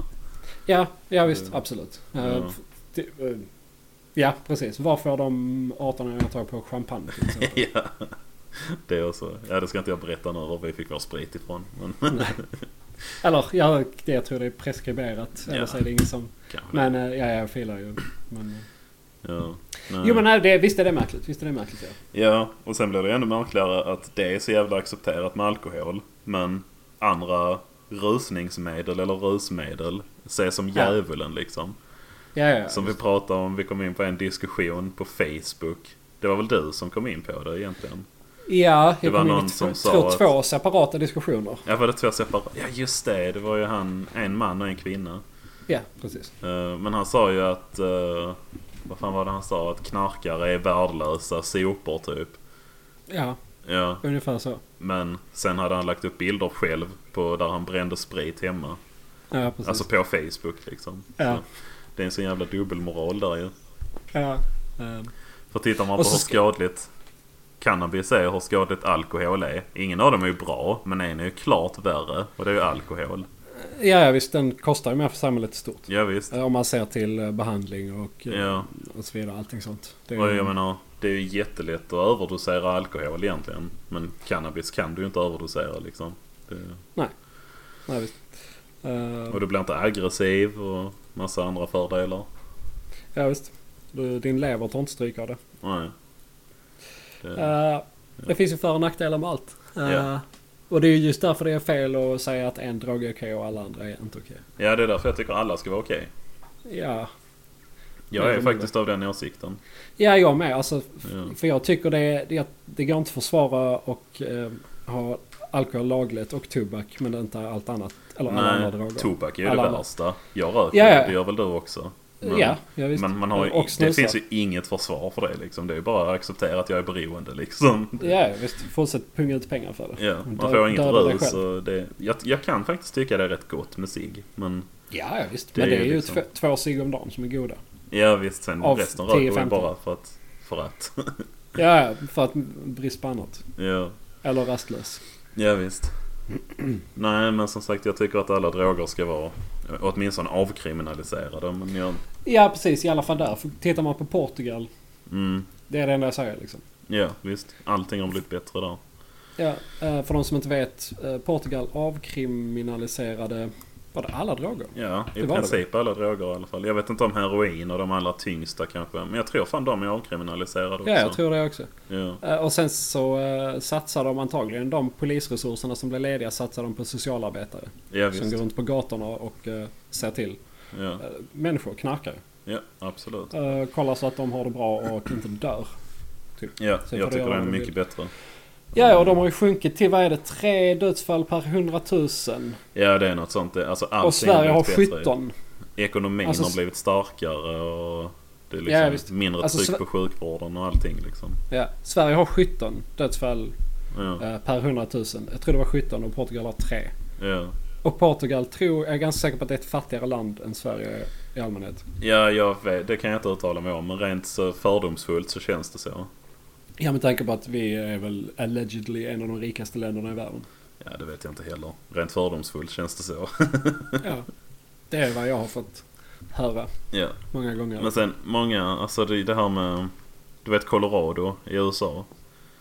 S1: Ja, ja visst.
S2: Mm.
S1: Absolut. Eh,
S2: Ja.
S1: f- det- eh, ja, precis. Var får de 18-åringar tag på champagne liksom? till exempel?
S2: ja. Det är också. Ja, det ska inte jag berätta nu var vi fick vår sprit ifrån. Men
S1: Eller, ja, det, jag tror det är preskriberat. Eller så är det ingen som...
S2: kanske.
S1: Men eh, ja, jag filar ju. Men, eh.
S2: Ja. Nej.
S1: Jo men nej, det, visst är det märkligt. Visst är det märkligt ja.
S2: Ja, och sen blir det ännu märkligare att det är så jävla accepterat med alkohol. Men andra rusningsmedel eller rusmedel ses som
S1: Ja.
S2: djävulen liksom.
S1: Ja, ja,
S2: Som vi pratade om, vi kom in på en diskussion på Facebook. Det var väl du som kom in på det egentligen?
S1: ja jag
S2: var
S1: kom in i
S2: någon som
S1: två-
S2: sa
S1: två-
S2: att-
S1: två separata diskussioner.
S2: Ja, var det två separata? Ja, just det. Det var ju han, en man och en kvinna.
S1: Ja, precis.
S2: Eh, Men han sa ju att... eh, Vad fan var det han sa? Att knarkare är värdelösa sopor typ.
S1: Ja,
S2: Ja,
S1: ungefär så.
S2: men sen hade han lagt upp bilder själv på där han brände sprit hemma.
S1: Ja, precis.
S2: Alltså på Facebook liksom.
S1: Ja.
S2: Så Det är en sån jävla dubbelmoral där ju.
S1: ja. ehm,
S2: För tittar man på
S1: Och
S2: hur
S1: så ska-
S2: skadligt cannabis är och hur skadligt alkohol är. Ingen av dem är ju bra, men en är ju klart värre. Och det är ju alkohol.
S1: ja, ja, visst. Den kostar ju mer för samhället i stort.
S2: Ja, visst.
S1: Eh, Om man ser till eh, behandling och, eh,
S2: Ja.
S1: och så vidare. Allting sånt. Det
S2: Och
S1: ju-
S2: jag menar, det är ju jättelätt att överdosera alkohol egentligen. Men cannabis kan du ju inte överdosera liksom. Det...
S1: Nej, visst. Eh,
S2: Och du blir inte aggressiv och massa andra fördelar.
S1: ja, visst. Du, din lever tar inte stryk av det.
S2: Nej. Det...
S1: Eh, det finns ju för och nackdelar med allt. Eh,
S2: Ja.
S1: Och det är ju just därför det är fel att säga att en drog är okej och alla andra är inte okej.
S2: Ja, det är därför jag tycker alla ska vara okej.
S1: Ja.
S2: Jag
S1: Ja,
S2: är
S1: men-
S2: faktiskt av den åsikten.
S1: ja, jag med. Alltså, f-
S2: Ja.
S1: För jag tycker det, det, det går inte att försvara och eh, ha alkohol lagligt och tobak men inte allt annat. Eller alla
S2: Nej,
S1: andra droger.
S2: tobak är ju
S1: Alla
S2: det
S1: andra.
S2: värsta. Jag röker,
S1: Ja, ja.
S2: det gör väl du också? Men,
S1: ja, ja, visst.
S2: men man har ju,
S1: och
S2: det
S1: snusar.
S2: finns ju inget försvar för det liksom. Det är ju bara att acceptera att jag är beroende liksom.
S1: Ja, visst. Fortsätt punga ut pengar för det.
S2: Ja, man
S1: Dö-
S2: får inget
S1: döda dig
S2: rus
S1: själv.
S2: och det, jag, jag kan faktiskt tycka det är rätt gott med cigg. Men
S1: Ja, ja, visst.
S2: Det
S1: men
S2: är
S1: det är
S2: ju
S1: ju
S2: liksom-
S1: två, två cigg om dagen som är goda.
S2: ja visst, sen
S1: Av
S2: resten
S1: 10-15.
S2: röker jag bara för att. För att.
S1: Ja, ja, för att brist på annat.
S2: ja,
S1: Eller rastlös.
S2: ja visst. Nej men som sagt jag tycker att alla droger ska vara åtminstone avkriminaliserade. Men jag,
S1: Ja, precis. I alla fall där. För tittar man på Portugal.
S2: mm,
S1: Det är det enda jag säger liksom.
S2: ja visst. Allting har blivit bättre där.
S1: Ja, eh, för de som inte vet. eh, Portugal avkriminaliserade... Var det alla droger?
S2: Ja, i
S1: Det var det
S2: princip alla droger i alla fall. Jag vet inte om heroin och de allra tyngsta kanske. Men jag tror fan de är avkriminaliserade också.
S1: Ja, jag tror det också.
S2: Ja,
S1: Eh, Och sen så eh, satsar de antagligen de polisresurserna som blir lediga satsar de på socialarbetare.
S2: ja
S1: som
S2: visst.
S1: går runt på gatorna och eh, ser till
S2: Ja,
S1: eh, människor, knarkare.
S2: ja, absolut.
S1: Eh, kollar så att de har det bra och inte dör.
S2: Ja,
S1: får du
S2: jag tycker
S1: göra
S2: den är
S1: vad du
S2: mycket bättre.
S1: Ja, och de har ju sjunkit till, vad är det, tre dödsfall per 100 000.
S2: Ja, det är något sånt. Det- Alltså, allting
S1: Och Sverige har
S2: blivit bättre.
S1: 17.
S2: Ekonomin
S1: Alltså,
S2: har
S1: s-
S2: blivit starkare och det är
S1: Ja, ja,
S2: liksom
S1: visst.
S2: mindre
S1: Alltså,
S2: tryck
S1: Sve-
S2: på sjukvården och allting liksom.
S1: Ja, Sverige har 17 dödsfall
S2: Ja,
S1: eh, per 100 000. Jag tror det var 17 och Portugal har 3.
S2: ja.
S1: Och Portugal tror, jag är ganska säker på att det är ett fattigare land än Sverige i allmänhet.
S2: ja jag vet, det kan jag inte uttala mig om. Men rent så fördomsfullt så känns det så.
S1: Ja, med tanke på att vi är väl allegedly en av de rikaste länderna i världen.
S2: Ja, det vet jag inte heller. Rent fördomsfullt känns det så.
S1: Ja, det är vad jag har fått höra
S2: ja.
S1: många gånger.
S2: Men sen många, alltså det, det här med Du vet Colorado i USA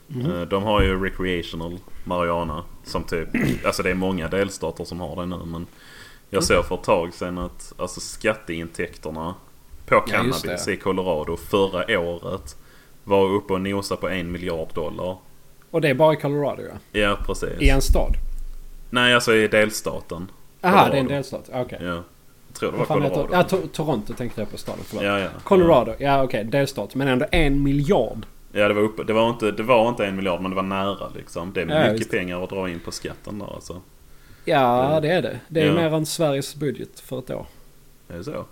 S1: Mhm.
S2: Eh, De har ju recreational marijuana Som typ, alltså det är många delstater som har det nu men Jag
S1: Mm.
S2: såg för ett tag sedan att alltså skatteintäkterna På
S1: Ja, just
S2: cannabis i Colorado förra året Var uppe och nosade på en miljard dollar
S1: Och det är bara i Colorado, ja.
S2: Ja precis
S1: I en stad.
S2: Nej alltså i delstaten
S1: Aha,
S2: Colorado.
S1: det är en delstat. Okej.
S2: Ja Jag tror det var
S1: Vad fan heter
S2: Colorado
S1: Ja, to- Toronto tänkte jag på staden. Förlåt.
S2: Ja, ja.
S1: Colorado. Ja, okej. Delstat. Men ändå en miljard.
S2: Ja, det var, uppe, det, var inte, det var inte en miljard men det var nära liksom. Det är
S1: Ja,
S2: mycket
S1: visst.
S2: pengar att dra in på skatten där alltså.
S1: Ja,
S2: Mm.
S1: det är det. Det är
S2: Ja.
S1: mer än Sveriges budget för ett år.
S2: Är det så?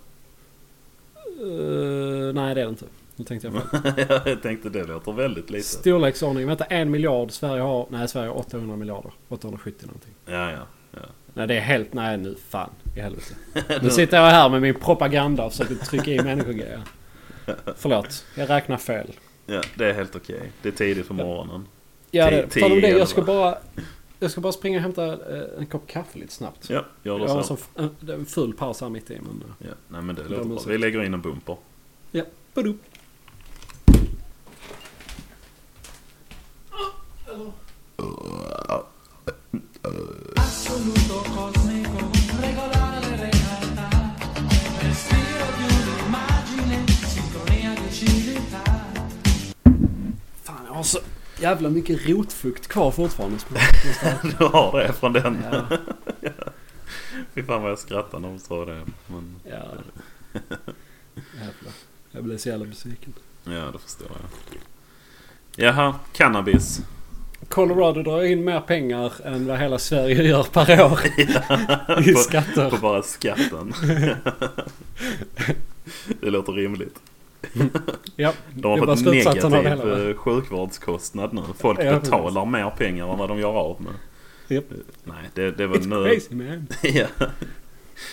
S1: Eh, nej, det är det inte. Nu tänkte jag fel.
S2: jag tänkte det låter väldigt lite.
S1: Storleksordning. Vänta, en miljard. Sverige har... Nej, Sverige har 800 miljarder. 870 någonting.
S2: Ja, ja. ja.
S1: Nej, det är helt... Nej, nu. Fan. I helvete. Nu sitter jag här med min propaganda och försöker trycka i människogrejer. Förlåt. Jag räknar fel.
S2: ja det är helt okej. Det är tidigt på morgonen.
S1: Ja, det.
S2: Tio-
S1: På tal om det.
S2: tio,
S1: Jag ska
S2: va?
S1: bara... Jag ska bara springa och hämta eh, en kopp kaffe lite snabbt.
S2: Ja, gör
S1: Jag har
S2: det
S1: en,
S2: så.
S1: sån, en, det är en ful paus här mitt i. Men, eh,
S2: Ja, nej men det
S1: Jag
S2: låter
S1: ber om
S2: bra.
S1: ursäkt.
S2: Vi lägger in en bumper.
S1: ja. Badoo. Fan, jag har så jävla mycket rotfukt kvar fortfarande.
S2: du har det från den.
S1: Ja,
S2: Fy fan vad jag skrattade när de sa det. Men,
S1: ja. Jag blev så jävla besviken.
S2: Ja, det förstår jag. Jaha, cannabis.
S1: Colorado drar in mer pengar än vad hela Sverige gör per år i skatter.
S2: På bara skatten. det låter rimligt.
S1: Ja,
S2: De har
S1: det var
S2: fått
S1: slutsatsen av det hela. va?
S2: negativ eh, sjukvårdskostnad nu. Folk
S1: Ja, precis.
S2: betalar mer pengar än vad de gör av med.
S1: Japp.
S2: Nej, eh, det, det var
S1: It's
S2: nu...
S1: crazy man.
S2: ja.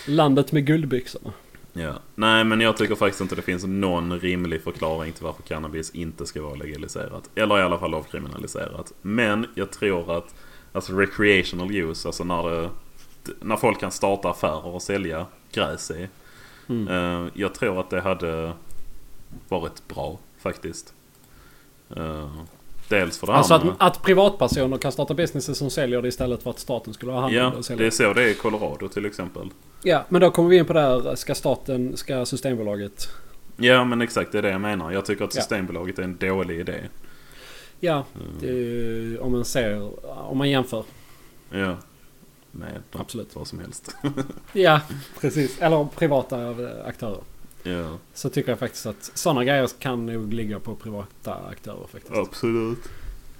S1: Landet med guldbyxorna.
S2: ja. Nej, men jag tycker faktiskt inte det finns någon rimlig förklaring till varför cannabis inte ska vara legaliserat. Eller i alla fall avkriminaliserat. Men jag tror att alltså recreational use, alltså när, det, när folk kan starta affärer och sälja gräs i.
S1: Mm.
S2: Eh, jag tror att det hade varit bra faktiskt. Eh, dels för det här
S1: Alltså att,
S2: med-
S1: att privatpersoner kan starta businesses som säljer det istället för att staten skulle ha hand om
S2: Ja,
S1: det och
S2: det
S1: sälja.
S2: är
S1: Det.
S2: så det är i Colorado till exempel.
S1: Ja, men då kommer vi in på det här. Ska staten, ska Systembolaget?
S2: Ja men exakt, det är det jag menar. Jag tycker att
S1: Ja.
S2: Systembolaget är en dålig idé.
S1: Ja,
S2: Mm.
S1: det är ju- om man ser, om man jämför.
S2: Ja. Med
S1: Absolut.
S2: vad som helst.
S1: Ja, precis. Eller privata eh, aktörer.
S2: ja,
S1: Så tycker jag faktiskt att sådana grejer kan nog ligga på privata aktörer faktiskt.
S2: absolut.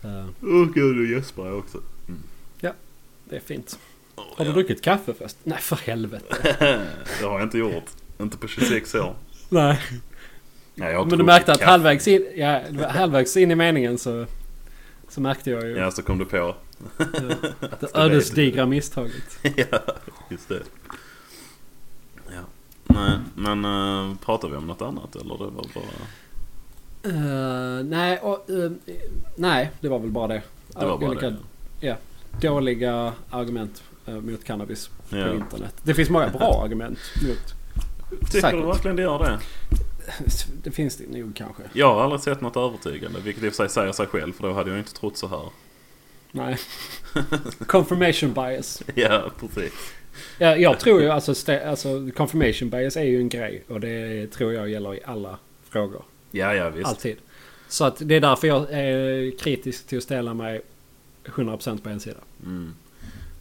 S1: Eh,
S2: Åh gud, nu gäspar jag också.
S1: Det är fint.
S2: Åh,
S1: Har du
S2: ja.
S1: druckit kaffe först? Nej, för helvete.
S2: det har jag inte gjort. Inte på 26 år.
S1: Nej.
S2: Nej, jag har
S1: Men du
S2: druckit
S1: märkte att
S2: kaffe.
S1: halvvägs in, ja, halvvägs in i meningen så, så märkte jag ju
S2: Ja, så kom du på.
S1: eh, det
S2: det
S1: ödesdigra misstaget.
S2: ja, just det. Ja. Nej, men eh, pratar vi om något annat eller? Det var bara...
S1: Eh, nej, och, eh, nej, det var väl bara det.
S2: Det var bara
S1: Olika
S2: det.
S1: Dåliga argument eh, mot cannabis
S2: Ja.
S1: på internet. Det finns många bra argument mot.
S2: Tycker
S1: Säkert.
S2: du verkligen det gör det?
S1: Det finns det nog kanske.
S2: Jag har aldrig sett något övertygande, vilket i och för sig säger sig själv, för då hade jag inte trott så här.
S1: Nej. Confirmation bias.
S2: Ja, precis.
S1: Ja, jag tror ju alltså, stä- alltså confirmation bias är ju en grej och det tror jag gäller i alla frågor.
S2: Ja, ja, visst.
S1: Alltid. Så att det är därför jag är kritisk till att ställa mig 100% på en sida.
S2: Mm.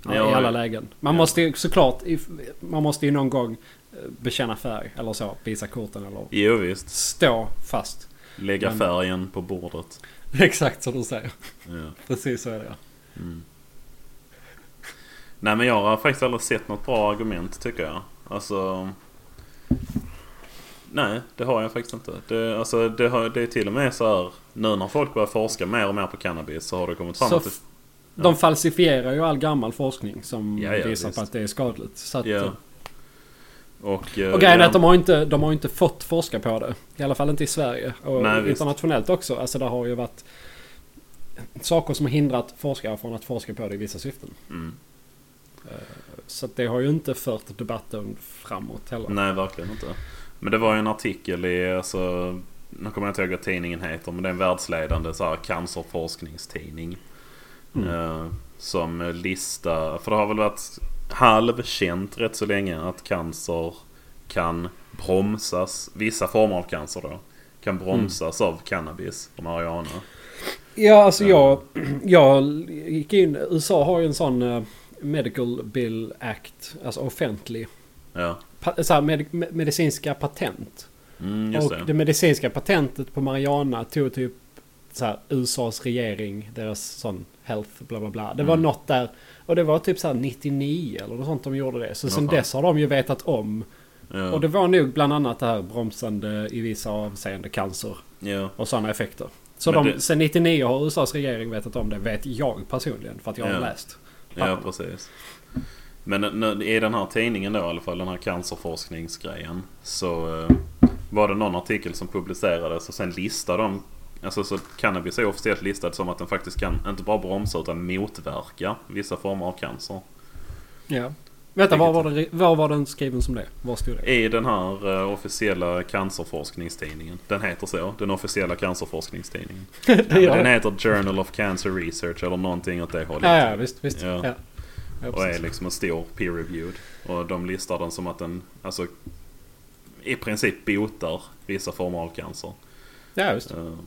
S1: Ja,
S2: Jag-
S1: I alla lägen. Man
S2: ja.
S1: måste ju såklart... if- Man måste ju någon gång eh, bekänna färg eller så. Visa korten eller
S2: Jo, visst.
S1: stå fast.
S2: Lägga
S1: Men-
S2: färgen på bordet.
S1: Exakt som du säger.
S2: Ja.
S1: Precis så är det.
S2: Mm. Nej, men jag har faktiskt aldrig sett något bra argument, tycker jag. Alltså... Nej, det har jag faktiskt inte. Det, alltså, det, har, det är till och med så här... Nu när folk börjar forska mer och mer på cannabis så har det kommit fram
S1: Så
S2: att det,
S1: f- De falsifierar ju all gammal forskning som
S2: Ja, ja,
S1: visar
S2: visst.
S1: på att det är skadligt. Så att,
S2: Ja. Och, eh,
S1: Och grejen är
S2: ja.
S1: att de har, inte, de har inte fått forska på det. I alla fall inte i Sverige. Och
S2: Nej, visst.
S1: internationellt också. Alltså det har ju varit saker som har hindrat forskare från att forska på det i vissa syften.
S2: Mm.
S1: Så att det har ju inte fört debatten framåt heller.
S2: Nej, verkligen inte. Men det var ju en artikel i, alltså, nu kommer jag inte ihåg vad tidningen heter, men det är en världsledande så här, cancerforskningstidning.
S1: Mm.
S2: Eh, som listar, för det har väl varit halvkänt rätt så länge att cancer kan bromsas, vissa former av cancer då, kan bromsas
S1: Mm.
S2: av cannabis och marijuana.
S1: Ja, alltså
S2: Ja.
S1: jag, jag gick in... USA har ju en sån eh, Medical Bill Act, alltså offentlig.
S2: Ja,
S1: Pa, så här, med, med, medicinska patent.
S2: mm, just
S1: och det.
S2: det.
S1: medicinska patentet på marijuana tog typ så här, USAs regering, deras sån health, bla bla bla. Det var
S2: Mm.
S1: något där. Och det var typ så här 99 eller något sånt de gjorde det. Så
S2: Ja,
S1: sen
S2: fan.
S1: dess har de ju vetat om.
S2: Ja,
S1: Och det var nog bland annat det här bromsande i vissa avseende cancer
S2: ja.
S1: och sådana effekter. Så
S2: Men
S1: de,
S2: det-
S1: sen 99 har USAs regering vetat om det, vet jag personligen. För att jag har
S2: Ja.
S1: läst.
S2: Ja,
S1: papperna.
S2: precis. Men nu, i den här tidningen då i alla fall, den här cancerforskningsgrejen. Så eh, var det någon artikel som publicerades och sen listade de... Alltså så cannabis är officiellt listad som att den faktiskt kan inte bara bromsa utan motverka vissa former av cancer.
S1: Ja. Vänta, var var, det, var var den skriven som det? Var stod det?
S2: I den här eh, officiella cancerforskningstidningen. Den heter så. Den officiella cancerforskningstidningen.
S1: det
S2: Ja,
S1: gör
S2: den
S1: det.
S2: heter Journal of Cancer Research eller någonting åt det hållet.
S1: Ja, ja, visst, visst.
S2: Ja.
S1: Ja. Ja.
S2: Och är
S1: precis.
S2: liksom en stor peer-reviewed. Och de listar den som att den alltså, i princip botar vissa former av cancer.
S1: ja, visst.
S2: Ehm,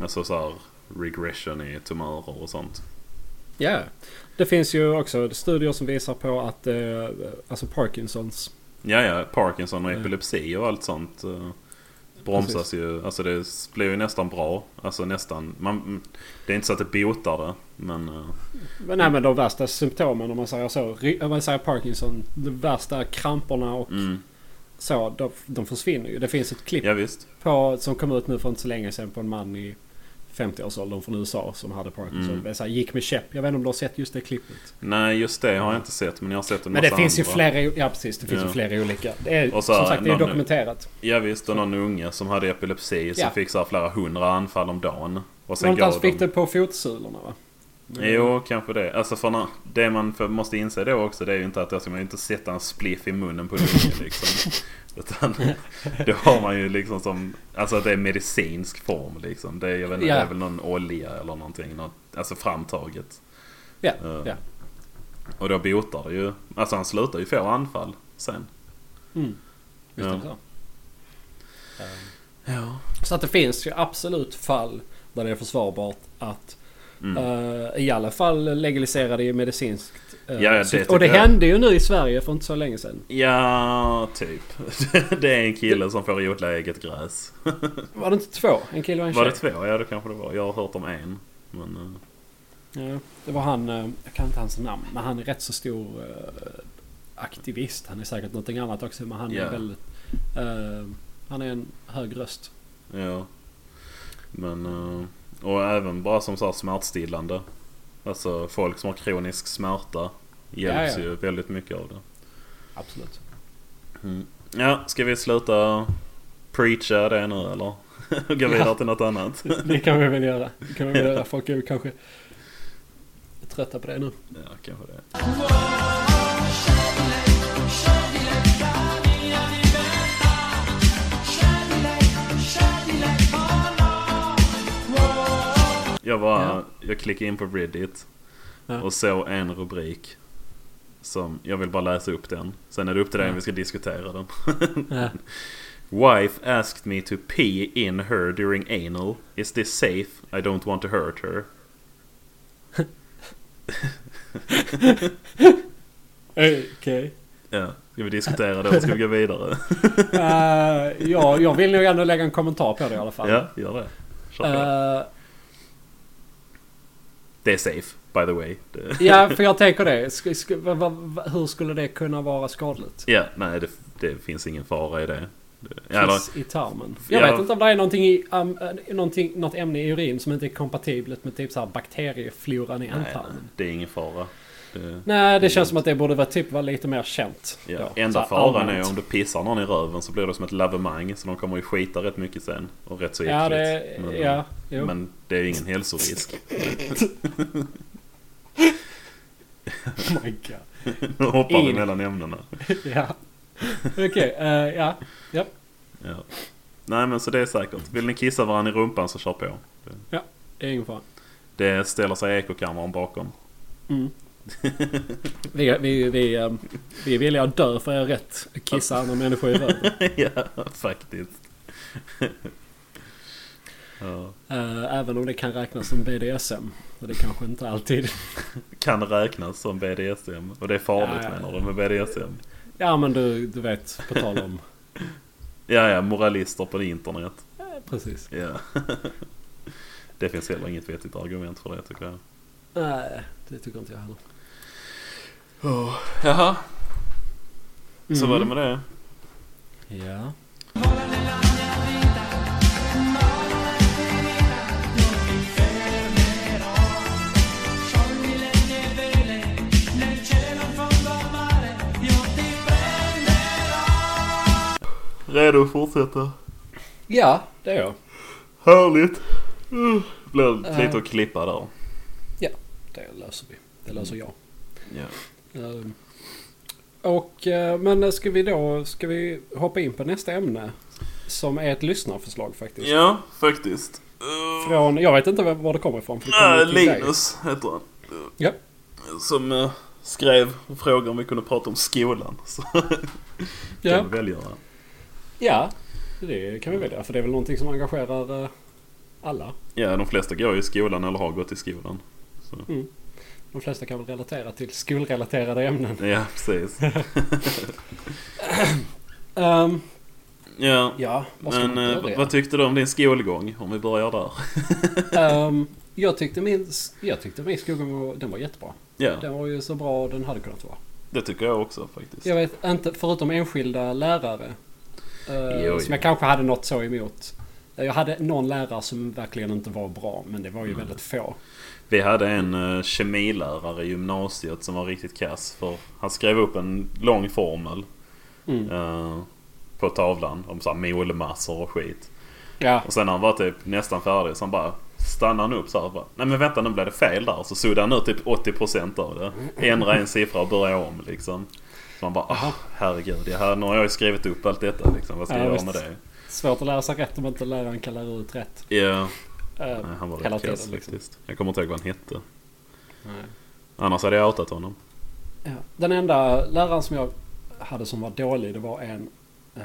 S2: Alltså så här regression i tumörer och sånt.
S1: Ja. Det finns ju också studier som visar på att eh, alltså Parkinsons.
S2: Ja, ja, Parkinson och
S1: Ja.
S2: epilepsi och allt sånt. eh, bromsas ju. Alltså det blir ju nästan bra. Alltså nästan. Man, det är inte så att det botar det. Men... eh,
S1: Men, nej, men de värsta symptomen om man säger så. ry- Om man säger Parkinson. De värsta kramperna och
S2: Mm,
S1: så. De, de försvinner ju. Det finns ett klipp
S2: ja visst.
S1: på, som kom ut nu för inte så länge sedan på en man i 50-årsåldern från USA som hade Parkinson.
S2: Mm.
S1: Det är Så här, gick med käpp. Jag vet inte om du har sett just det klippet.
S2: Nej just det har jag inte sett. Men jag har sett en
S1: Men det
S2: massa
S1: finns ju
S2: andra.
S1: flera. Ja precis. Det finns
S2: Ja.
S1: ju flera olika. Det är,
S2: Och så
S1: som
S2: här,
S1: sagt det är ju
S2: någon-
S1: dokumenterat.
S2: Ja visst, och någon unge som hade epilepsi som
S1: Ja.
S2: fick så här flera hundra anfall om dagen. Och sen
S1: Någonstans
S2: gav
S1: fick
S2: de...
S1: det på fotsulorna va?
S2: Jo, kanske det. Alltså för när, det man för, måste inse då också det är ju inte att då ska man ju inte sätta en spliff i munnen på en unge liksom. Utan då har man ju liksom som... Alltså att det är medicinsk form liksom. Det är, jag vet inte,
S1: Ja.
S2: det är väl någon olja eller någonting. Något, alltså framtaget.
S1: Ja,
S2: Eh,
S1: ja.
S2: Och då botar det ju... Alltså han slutar ju få anfall sen.
S1: Mm. Visst är det
S2: Ja.
S1: så. Ehm,
S2: Ja.
S1: Så att det finns ju absolut fall där det är försvarbart att
S2: Mm.
S1: eh, i alla fall legalisera det i medicinskt. eh,
S2: Ja, ja, det
S1: syfte.
S2: tycker
S1: och det
S2: jag.
S1: hände ju nu i Sverige för inte så länge sedan.
S2: Ja, typ. Det är en kille som får odla eget gräs.
S1: Var det inte två? En kille och en
S2: Var
S1: tjej?
S2: det två? Ja, det kanske det var. Jag har hört om en. Men, eh,
S1: Ja, det var han, eh, jag kan inte hans namn, men han är rätt så stor eh, aktivist. Han är säkert någonting annat också, men han
S2: Ja.
S1: är väldigt... eh, han är en hög röst.
S2: eh, ja. Men, eh, och även bara som så här smärtstillande. Alltså folk som har kronisk smärta hjälps
S1: Ja, ja.
S2: ju väldigt mycket av det.
S1: Absolut.
S2: Mm. Ja, ska vi sluta preacha det nu eller? Och gå vidare till något annat?
S1: Det kan vi väl göra. Det kan vi väl göra. Folk är väl kanske trötta på det nu.
S2: Ja, kanske det. Jag bara,
S1: Ja.
S2: jag klickade in på Reddit
S1: Ja.
S2: och såg en rubrik. Som, jag vill bara läsa upp den. Sen är det upp till dig
S1: Ja.
S2: om vi ska diskutera den.
S1: Ja.
S2: Wife asked me to pee in her during anal. Is this safe? I don't want to hurt her.
S1: Eh, Okej.
S2: Ja, ska vi diskutera det eller ska vi gå vidare?
S1: Eh, ja, jag vill nog ändå lägga en kommentar på det i alla fall.
S2: ja, gör det. Kör på det.
S1: Eh,
S2: Det är safe, by the way. Det-
S1: ja, för jag tänker det. Sk- sk- vad- vad- vad- hur skulle det kunna vara skadligt?
S2: Ja, nej det, det finns ingen fara i det. det ja, eller,
S1: Kiss i tarmen. Jag
S2: Ja.
S1: vet inte om det är någonting i, am- eh, någonting, något ämne i urin som inte är kompatibelt med typ så här bakteriefloran i
S2: nej, nej,
S1: ändtarmen.
S2: det är ingen fara. Det,
S1: Nej, det känns som att det borde vara typ vara lite mer känt.
S2: ja.
S1: då. Så
S2: Enda
S1: här
S2: faran
S1: allmänt.
S2: är om du pissar någon i röven så blir det som ett lavemang så de kommer ju skita rätt mycket sen. Och rätt så äckligt.
S1: Ja, det...
S2: men, eh.
S1: Ja, jo.
S2: men det är ju ingen hälsorisk.
S1: Oh my god.
S2: Nu hoppar vi
S1: In.
S2: mellan ämnena.
S1: ja. Okej, eh, ja. Ja.
S2: Ja. Nej men så det är säkert. Vill ni kissa varandra i rumpan så kör på. Det-
S1: Det är ingen fara.
S2: Det ställer sig ekokammaren bakom.
S1: Mm. vi, vi, vi, ehm, vi är villiga att dö för er rätt. Kissa andra människor i röven.
S2: ja, faktiskt. ja.
S1: Eh, även om det kan räknas som BDSM. Och det kanske inte alltid.
S2: Kan räknas som BDSM. Och det är farligt
S1: Ja, ja.
S2: menar du med BDSM?
S1: Ja men du, du vet, på tal om...
S2: Ja, ja, moralister på internet.
S1: Eh, Precis.
S2: Ja. det finns heller inget vettigt argument för det tycker jag.
S1: Nej, det tycker inte jag heller.
S2: Oh. Jaha, så
S1: Mm.
S2: var det med det.
S1: Ja.
S2: Redo att fortsätta?
S1: Ja, det är jag.
S2: Härligt! Uh, Blir
S1: Ja.
S2: lite att klippa där.
S1: Det löser vi. Det löser jag.
S2: Ja.
S1: Ehm, Och, eh, men ska vi då ska vi hoppa in på nästa ämne? Som är ett lyssnarförslag faktiskt.
S2: Ja, faktiskt. Eh,
S1: Från, jag vet inte var- var det kommer ifrån. För det kommer
S2: nej,
S1: till dig.
S2: Linus heter han. Eh,
S1: Ja.
S2: Som eh, skrev och frågade om vi kunde prata om skolan. Så
S1: Ja.
S2: kan vi väl göra.
S1: ja, det kan vi välja. För det är väl någonting som engagerar eh, alla.
S2: Ja, de flesta går ju i skolan eller har gått i skolan. Så.
S1: De flesta kan väl relatera till skolrelaterade ämnen.
S2: Ja, precis.
S1: Ehm,
S2: Ja.
S1: Ja, vad ska
S2: Men
S1: man
S2: eh,
S1: börja?
S2: vad- vad tyckte du om din skolgång? Om vi börjar där.
S1: Ehm, jag tyckte min, jag tyckte min skogen var, den var jättebra.
S2: Ja,
S1: Den var ju så bra den hade kunnat vara.
S2: det tycker jag också faktiskt.
S1: Jag vet inte, förutom enskilda lärare. eh,
S2: Jo,
S1: som
S2: jo.
S1: jag kanske hade något så emot. Jag hade någon lärare som verkligen inte var bra, men det var ju
S2: Mm.
S1: väldigt få.
S2: Vi hade en eh, kemilärare i gymnasiet som var riktigt kass. För han skrev upp en lång formel
S1: Mm.
S2: eh, på tavlan om så här molemassor och skit.
S1: Ja,
S2: Och sen när han var typ nästan färdig så han bara stannade han upp så här och bara, Nej men vänta nu blev det fel där. Så suddade han ut typ 80% av det. Ändra en siffra och börja om liksom. Så man bara ah, herregud. Jag här, nu har jag ju skrivit upp allt detta liksom. Vad ska
S1: Ja,
S2: jag göra
S1: visst.
S2: med det?
S1: svårt att lära sig rätt om inte läraren kan lära ut rätt.
S2: Ja,
S1: eh,
S2: nej, han var
S1: hela
S2: rätt
S1: tiden
S2: kass
S1: liksom.
S2: faktiskt. Jag kommer inte ihåg vad han hette.
S1: Nej.
S2: Annars hade jag outat honom.
S1: Ja. Den enda läraren som jag hade som var dålig det var en eh,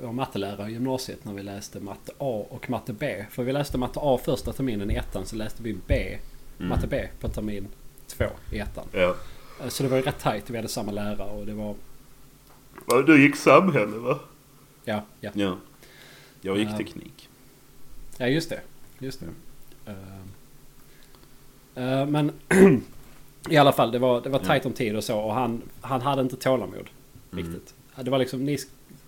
S1: det var mattelärare i gymnasiet när vi läste matte A och matte B. För vi läste matte A första terminen i ettan så läste vi B,
S2: Mm.
S1: matte B på termin två i ettan.
S2: Ja.
S1: Eh, Så det var ju rätt tajt, vi hade samma lärare och det var...
S2: Du gick samhälle va?
S1: Ja, ja.
S2: Ja. Jag gick
S1: Ja.
S2: teknik.
S1: ja just det. Just det. Eh, eh, men i alla fall, det var, det var
S2: Ja. Mm.
S1: tajt om tid och så och han, han hade inte tålamod. Riktigt. Det var liksom, ni,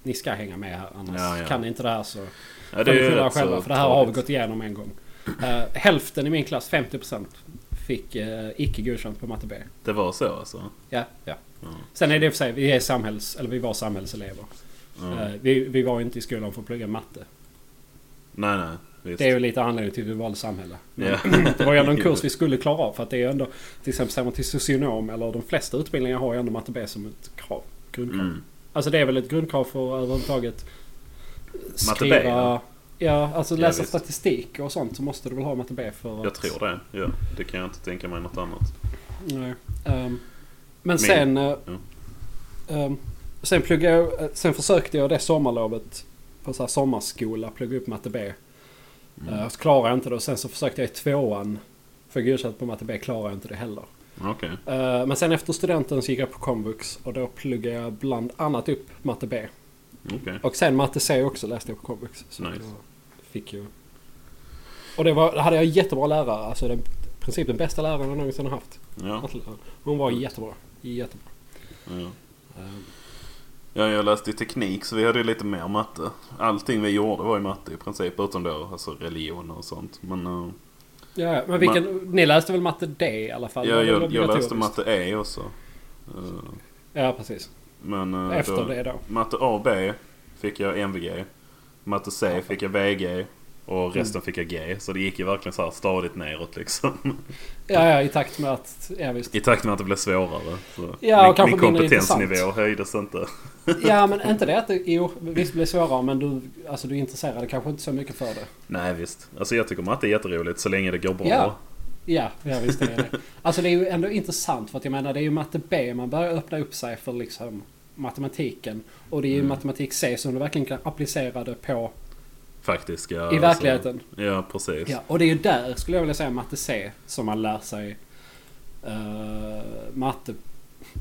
S1: ni ska hänga med här annars
S2: Ja, ja.
S1: kan ni inte det här så...
S2: Ja,
S1: det är
S2: rätt så
S1: själva, för det här har vi
S2: tragiskt.
S1: gått igenom en gång. Eh, hälften i min klass, 50% fick eh, icke godkänt på matte B.
S2: Det var så alltså?
S1: Ja, ja.
S2: Ja.
S1: Sen är det i och för sig, vi, är samhälls, eller vi var samhällselever.
S2: Ja.
S1: Eh, vi, vi var ju inte i skolan för att plugga matte.
S2: Nej nej. Visst.
S1: Det är ju lite anledningen till att vi valde samhälle.
S2: Ja.
S1: Det var ju ändå en kurs vi skulle klara av. För att det är ju ändå, till exempel säger man till socionom eller de flesta utbildningar har ju ändå matte B som ett krav. Grundkrav.
S2: Mm.
S1: Alltså det är väl ett grundkrav för att överhuvudtaget
S2: Matte B,
S1: skriva...
S2: ja.
S1: Ja, alltså
S2: Ja,
S1: läsa
S2: visst.
S1: statistik och sånt så måste du väl ha matte B för att...
S2: Jag tror det. Ja. Det kan jag inte tänka mig något annat.
S1: Nej. Ehm, men sen... eh,
S2: ja.
S1: ehm, sen pluggade jag, eh, Sen försökte jag det sommarlovet på så här sommarskola plugga upp matte B. Eh, och så klarade jag inte det och sen så försökte jag i tvåan få godkänt på matte B. Klarade jag inte det heller.
S2: Okej.
S1: Eh, men sen efter studenten så gick jag på komvux och då pluggade jag bland annat upp matte B.
S2: Okej.
S1: Och sen matte C också läste jag på komvux. Så
S2: Nice.
S1: då fick jag... Och det var, hade jag jättebra lärare. Alltså den, i princip den bästa läraren jag någonsin har haft.
S2: Ja.
S1: Hon var jättebra. Jättebra.
S2: Ja. Eh,
S1: Ehm,
S2: ja, jag läste ju teknik så vi hade ju lite mer matte. Allting vi gjorde var ju matte i princip. Utom då alltså religion och sånt. Men eh,
S1: Ja, ja, men vilken, ni läste väl matte D i alla fall?
S2: ja,
S1: Det var väl
S2: jag, jag
S1: obligatoriskt?
S2: läste matte E också. Eh,
S1: Ja, precis.
S2: Men, eh,
S1: Efter
S2: då-
S1: det då.
S2: Matte A och B fick jag MVG. Matte C fick jag VG.
S1: Mm.
S2: Och resten fick jag G. Så det gick ju verkligen så här stadigt neråt liksom.
S1: Ja, ja, i takt med att... Ja, visst.
S2: I takt med att det blev svårare. Så
S1: Ja, och
S2: min,
S1: kanske
S2: min
S1: mindre
S2: kompetensnivå
S1: intressant.
S2: höjdes inte.
S1: Ja, men inte det att det... Jo, visst blir det svårare, men du, alltså, du intresserade kanske inte så mycket för det.
S2: Nej visst. Alltså jag tycker matte är jätteroligt så länge det går bra.
S1: Ja. Ja, ja visst det är det. Alltså det är ju ändå intressant för att jag menar det är ju matte B man börjar öppna upp sig för liksom matematiken. Och det är ju
S2: Mm.
S1: matematik C som du verkligen kan applicera det på
S2: Faktiskt. Ja,
S1: i
S2: alltså.
S1: verkligheten.
S2: Ja precis.
S1: Ja, och det är ju där skulle jag vilja säga matte C som man lär sig eh, matte,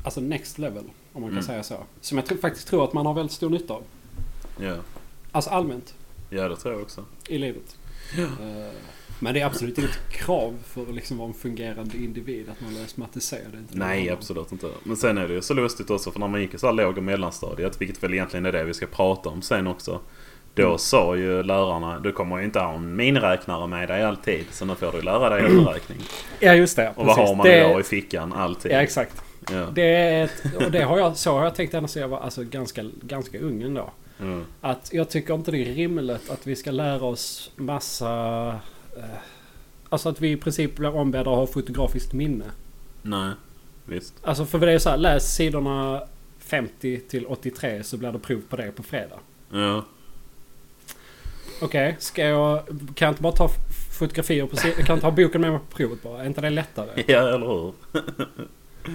S1: alltså next level om man kan
S2: Mm.
S1: säga så. Som jag tror, faktiskt tror att man har väldigt stor nytta av.
S2: Ja.
S1: Alltså allmänt
S2: ja det tror jag också.
S1: i livet. Eh, men det är absolut inget krav för att liksom vara en fungerande individ att man läser matte C. Det är inte
S2: Nej
S1: någon-
S2: absolut inte. Men sen är det ju så lustigt också för när man gick i så här låg och mellanstadiet, vilket väl egentligen är det vi ska prata om sen också. Då
S1: Mm.
S2: sa ju lärarna, du kommer ju inte ha en miniräknare med dig alltid. Så nu får du lära dig överräkning.
S1: Ja just det.
S2: Och vad har
S1: Mm. precis.
S2: man
S1: det,
S2: idag i fickan alltid?
S1: Ja exakt.
S2: Ja.
S1: Det är ett, och det har jag, så har jag tänkt ända sedan jag var alltså, ganska, ganska ung ändå.
S2: Mm.
S1: Att jag tycker inte det är rimligt att vi ska lära oss massa... Eh, alltså att vi i princip blir ombedda att ha fotografiskt minne.
S2: Nej, visst.
S1: Alltså för det är så här, läs sidorna 50 till 83 så blir det prov på det på fredag.
S2: Ja.
S1: Okej, ska jag... Kan jag inte bara ta f- fotografier på si- Kan jag inte ha boken med mig på provet bara? Är inte det lättare?
S2: ja, eller hur?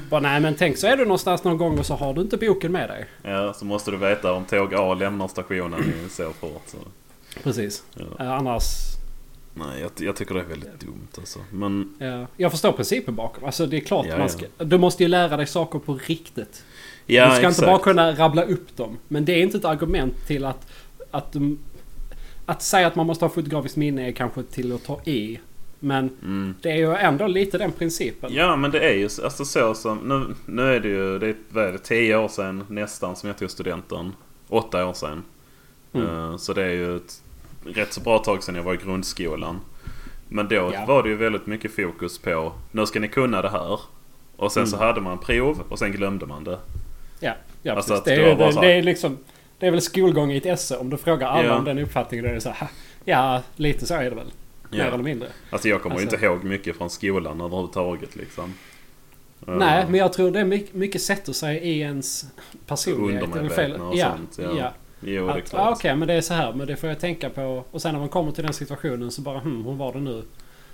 S1: Bara, nej men tänk så är du någonstans någon gång och så har du inte boken med dig.
S2: Ja, så måste du veta om tåg A lämnar stationen så fort. Så.
S1: Precis.
S2: Ja.
S1: Eh, annars...
S2: Nej, jag, jag tycker det är väldigt dumt alltså. Men
S1: Ja, jag förstår principen bakom. Alltså det är klart
S2: Ja,
S1: man
S2: ja.
S1: ska, Du måste ju lära dig saker på riktigt.
S2: ja,
S1: du ska
S2: exakt.
S1: inte bara kunna rabbla upp dem. Men det är inte ett argument till att att, de- att säga att man måste ha fotografiskt minne är kanske till att ta i. Men
S2: Mm.
S1: det är ju ändå lite den principen.
S2: Ja men det är ju så- alltså, så som... Nu, nu är det ju... Det är, vad är det, tio år sedan nästan som jag tog studenten. Åtta år sedan.
S1: Mm.
S2: Eh, Så det är ju ett rätt så bra tag sedan jag var i grundskolan. Men då
S1: Ja.
S2: var det ju väldigt mycket fokus på nu ska ni kunna det här. Och sen så
S1: Mm.
S2: hade man prov och sen glömde man det.
S1: Ja, ja
S2: Alltså
S1: precis.
S2: att
S1: Det
S2: det var
S1: är,
S2: bara
S1: det,
S2: så här-
S1: det är liksom... Det är väl skolgång i ett esse. Om du frågar alla
S2: Ja.
S1: om den uppfattningen då är det så här, "Ha, Ja, lite så är det väl.
S2: Ja.
S1: Mer eller mindre.
S2: Alltså jag kommer
S1: Alltså-
S2: ju inte ihåg mycket från skolan överhuvudtaget liksom. Eh,
S1: Nej, men jag tror det är mycket, mycket sätter sig i ens personlighet. Det är väl fel-
S2: Undermedvetna och sånt. Ja.
S1: ja.
S2: Jo, det är
S1: Att,
S2: klart.
S1: ah, Okej, men det är så här. Men det får jag tänka på. Och sen när man kommer till den situationen så bara hmm, hur var det nu?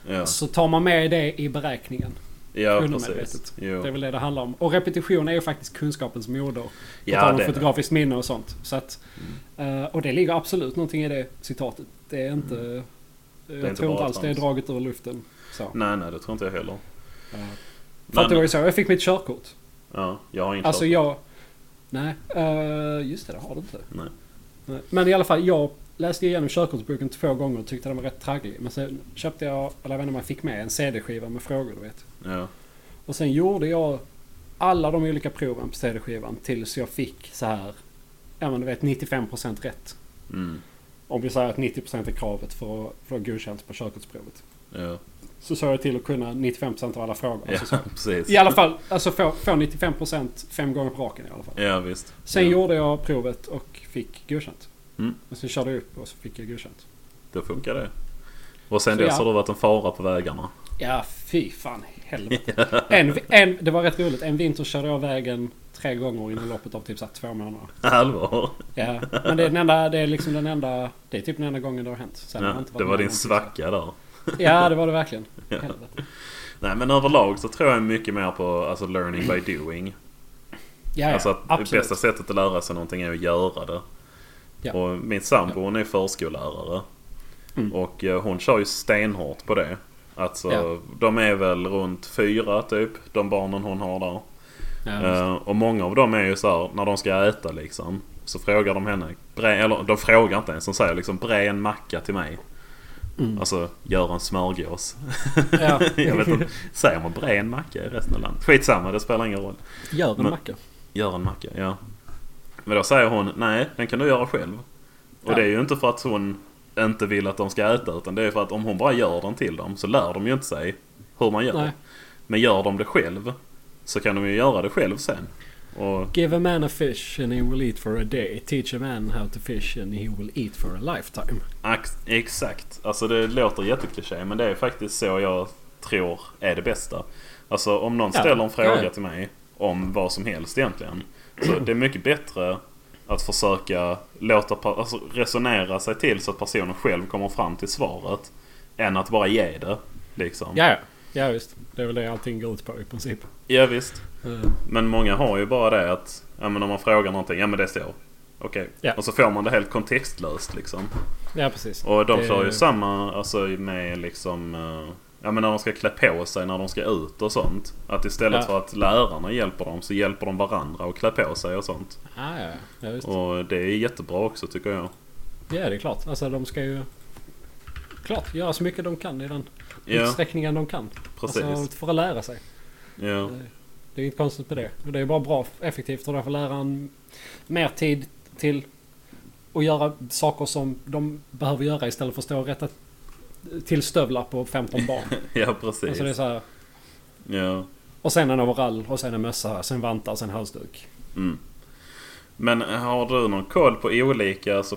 S2: ja.
S1: Så tar man med det i beräkningen.
S2: ja,
S1: undermedvetet.
S2: precis. Jo.
S1: Det är väl det det handlar om. Och repetition är ju faktiskt kunskapens moder. På
S2: Ja,
S1: tal om
S2: det Mm. är det.
S1: fotografiskt minne och sånt. Så att, eh, och det ligger absolut någonting i det citatet. Det är inte... eh, jag
S2: Mm. inte
S1: tror inte
S2: bara
S1: alls det är
S2: trams.
S1: draget ur luften. Så.
S2: Nej, nej, det tror inte jag heller.
S1: Eh, för att det var ju
S2: Men,
S1: så jag fick mitt körkort.
S2: ja, jag har inte
S1: Alltså
S2: hört-
S1: jag... Nej, eh, just det, det har du inte.
S2: Nej.
S1: Nej. Men i alla fall, jag läste igenom körkortsboken två gånger och tyckte den var rätt tragglig. Men sen köpte jag, eller jag vet inte om jag fick med, en CD-skiva med frågor, du vet.
S2: Ja.
S1: Och sen gjorde jag alla de olika proven på CD-skivan tills jag fick så här, ja men du vet 95% rätt.
S2: Mm.
S1: Om vi säger att 90% är kravet för att få godkänt på körkortsprovet.
S2: Ja.
S1: Så såg jag till att kunna 95% av alla frågor.
S2: Ja,
S1: Alltså, så.
S2: precis.
S1: I alla fall, alltså få, få 95% fem gånger på raken i alla fall.
S2: Ja, visst.
S1: Sen
S2: ja.
S1: gjorde jag provet och fick godkänt.
S2: Mm.
S1: Och sen körde jag upp och så fick jag godkänt.
S2: Då funkar det. Och sen
S1: Så
S2: dess
S1: ja.
S2: har det varit en fara på vägarna.
S1: Ja, fy fan helvete. En, en, det var rätt roligt. En vinter körde jag vägen tre gånger inom loppet av typ så här två månader.
S2: Allvar.
S1: Ja, men det är, den enda, det är liksom den enda... Det är typ den enda gången det har hänt. Sen har
S2: Ja,
S1: jag inte varit
S2: det var
S1: med
S2: din
S1: om
S2: svacka där.
S1: någonting. Ja, det var det verkligen. Helvete.
S2: Nej men överlag så tror jag mycket mer på alltså, learning by doing.
S1: Ja, ja,
S2: alltså att det
S1: absolut.
S2: bästa sättet att lära sig någonting är att göra det.
S1: Ja.
S2: Och min sambo hon är förskollärare.
S1: Mm.
S2: Och eh, hon kör ju stenhårt på det. Alltså
S1: Ja.
S2: de är väl runt fyra typ, de barnen hon har där.
S1: Ja,
S2: Eh, och många av dem är ju så här, när de ska äta liksom. Så frågar de henne, bre, eller de frågar inte ens, de säger liksom bre en macka till mig.
S1: Mm.
S2: Alltså gör en smörgås.
S1: Ja.
S2: jag vet inte, säger man bre en macka i resten av landet? Skitsamma, det spelar ingen roll.
S1: Gör en
S2: Eh, men-
S1: macka.
S2: Gör en macka, ja. Men då säger hon, nej den kan du göra själv. Och
S1: Ja.
S2: det är ju inte för att hon inte vill att de ska äta utan det är för att om hon bara gör den till dem så lär de ju inte sig hur man gör.
S1: Nej.
S2: Men gör de det själv så kan de ju göra det själv sen. Och
S1: Give a man a fish and he will eat for a day. Teach a man how to fish and he will eat for a lifetime.
S2: Ax- Exakt. Alltså det låter jättekliché men det är faktiskt så jag tror är det bästa. Alltså om någon
S1: Ja.
S2: ställer en fråga
S1: Ja, ja.
S2: till mig om vad som helst egentligen. Så det är mycket bättre att försöka låta, per- alltså resonera sig till så att personen själv kommer fram till svaret. Än att bara ge det. Liksom.
S1: Ja, ja. Ja, visst. Det är väl det allting går ut på i princip.
S2: ja visst.
S1: Eh,
S2: Men många har ju bara det att ja, men om man frågar någonting, ja men det står. Okej.
S1: Ja.
S2: Och så får man det helt kontextlöst liksom.
S1: Ja, precis.
S2: Och de
S1: Det-
S2: kör ju samma alltså, med liksom... eh, Ja men när de ska klä på sig när de ska ut och sånt. Att istället
S1: Ja.
S2: för att lärarna hjälper dem så hjälper de varandra att klä på sig och sånt.
S1: Ah, ja, ja, visst.
S2: Och det är jättebra också tycker jag.
S1: Ja, det är klart. Alltså de ska ju... Klart, göra så mycket de kan i den
S2: Ja,
S1: utsträckningen de kan.
S2: precis.
S1: Alltså för att lära sig.
S2: ja.
S1: Det är inget konstigt med det. Och Det är bara bra effektivt och därför läraren mer tid till att göra saker som de behöver göra istället för att stå och rätta till stövlar på 15 barn.
S2: ja, precis.
S1: Alltså det är så här,
S2: ja.
S1: och sen en overall och sen en mössa, sen vantar, sen halsduk.
S2: Mm. Men har du någon koll på olika alltså,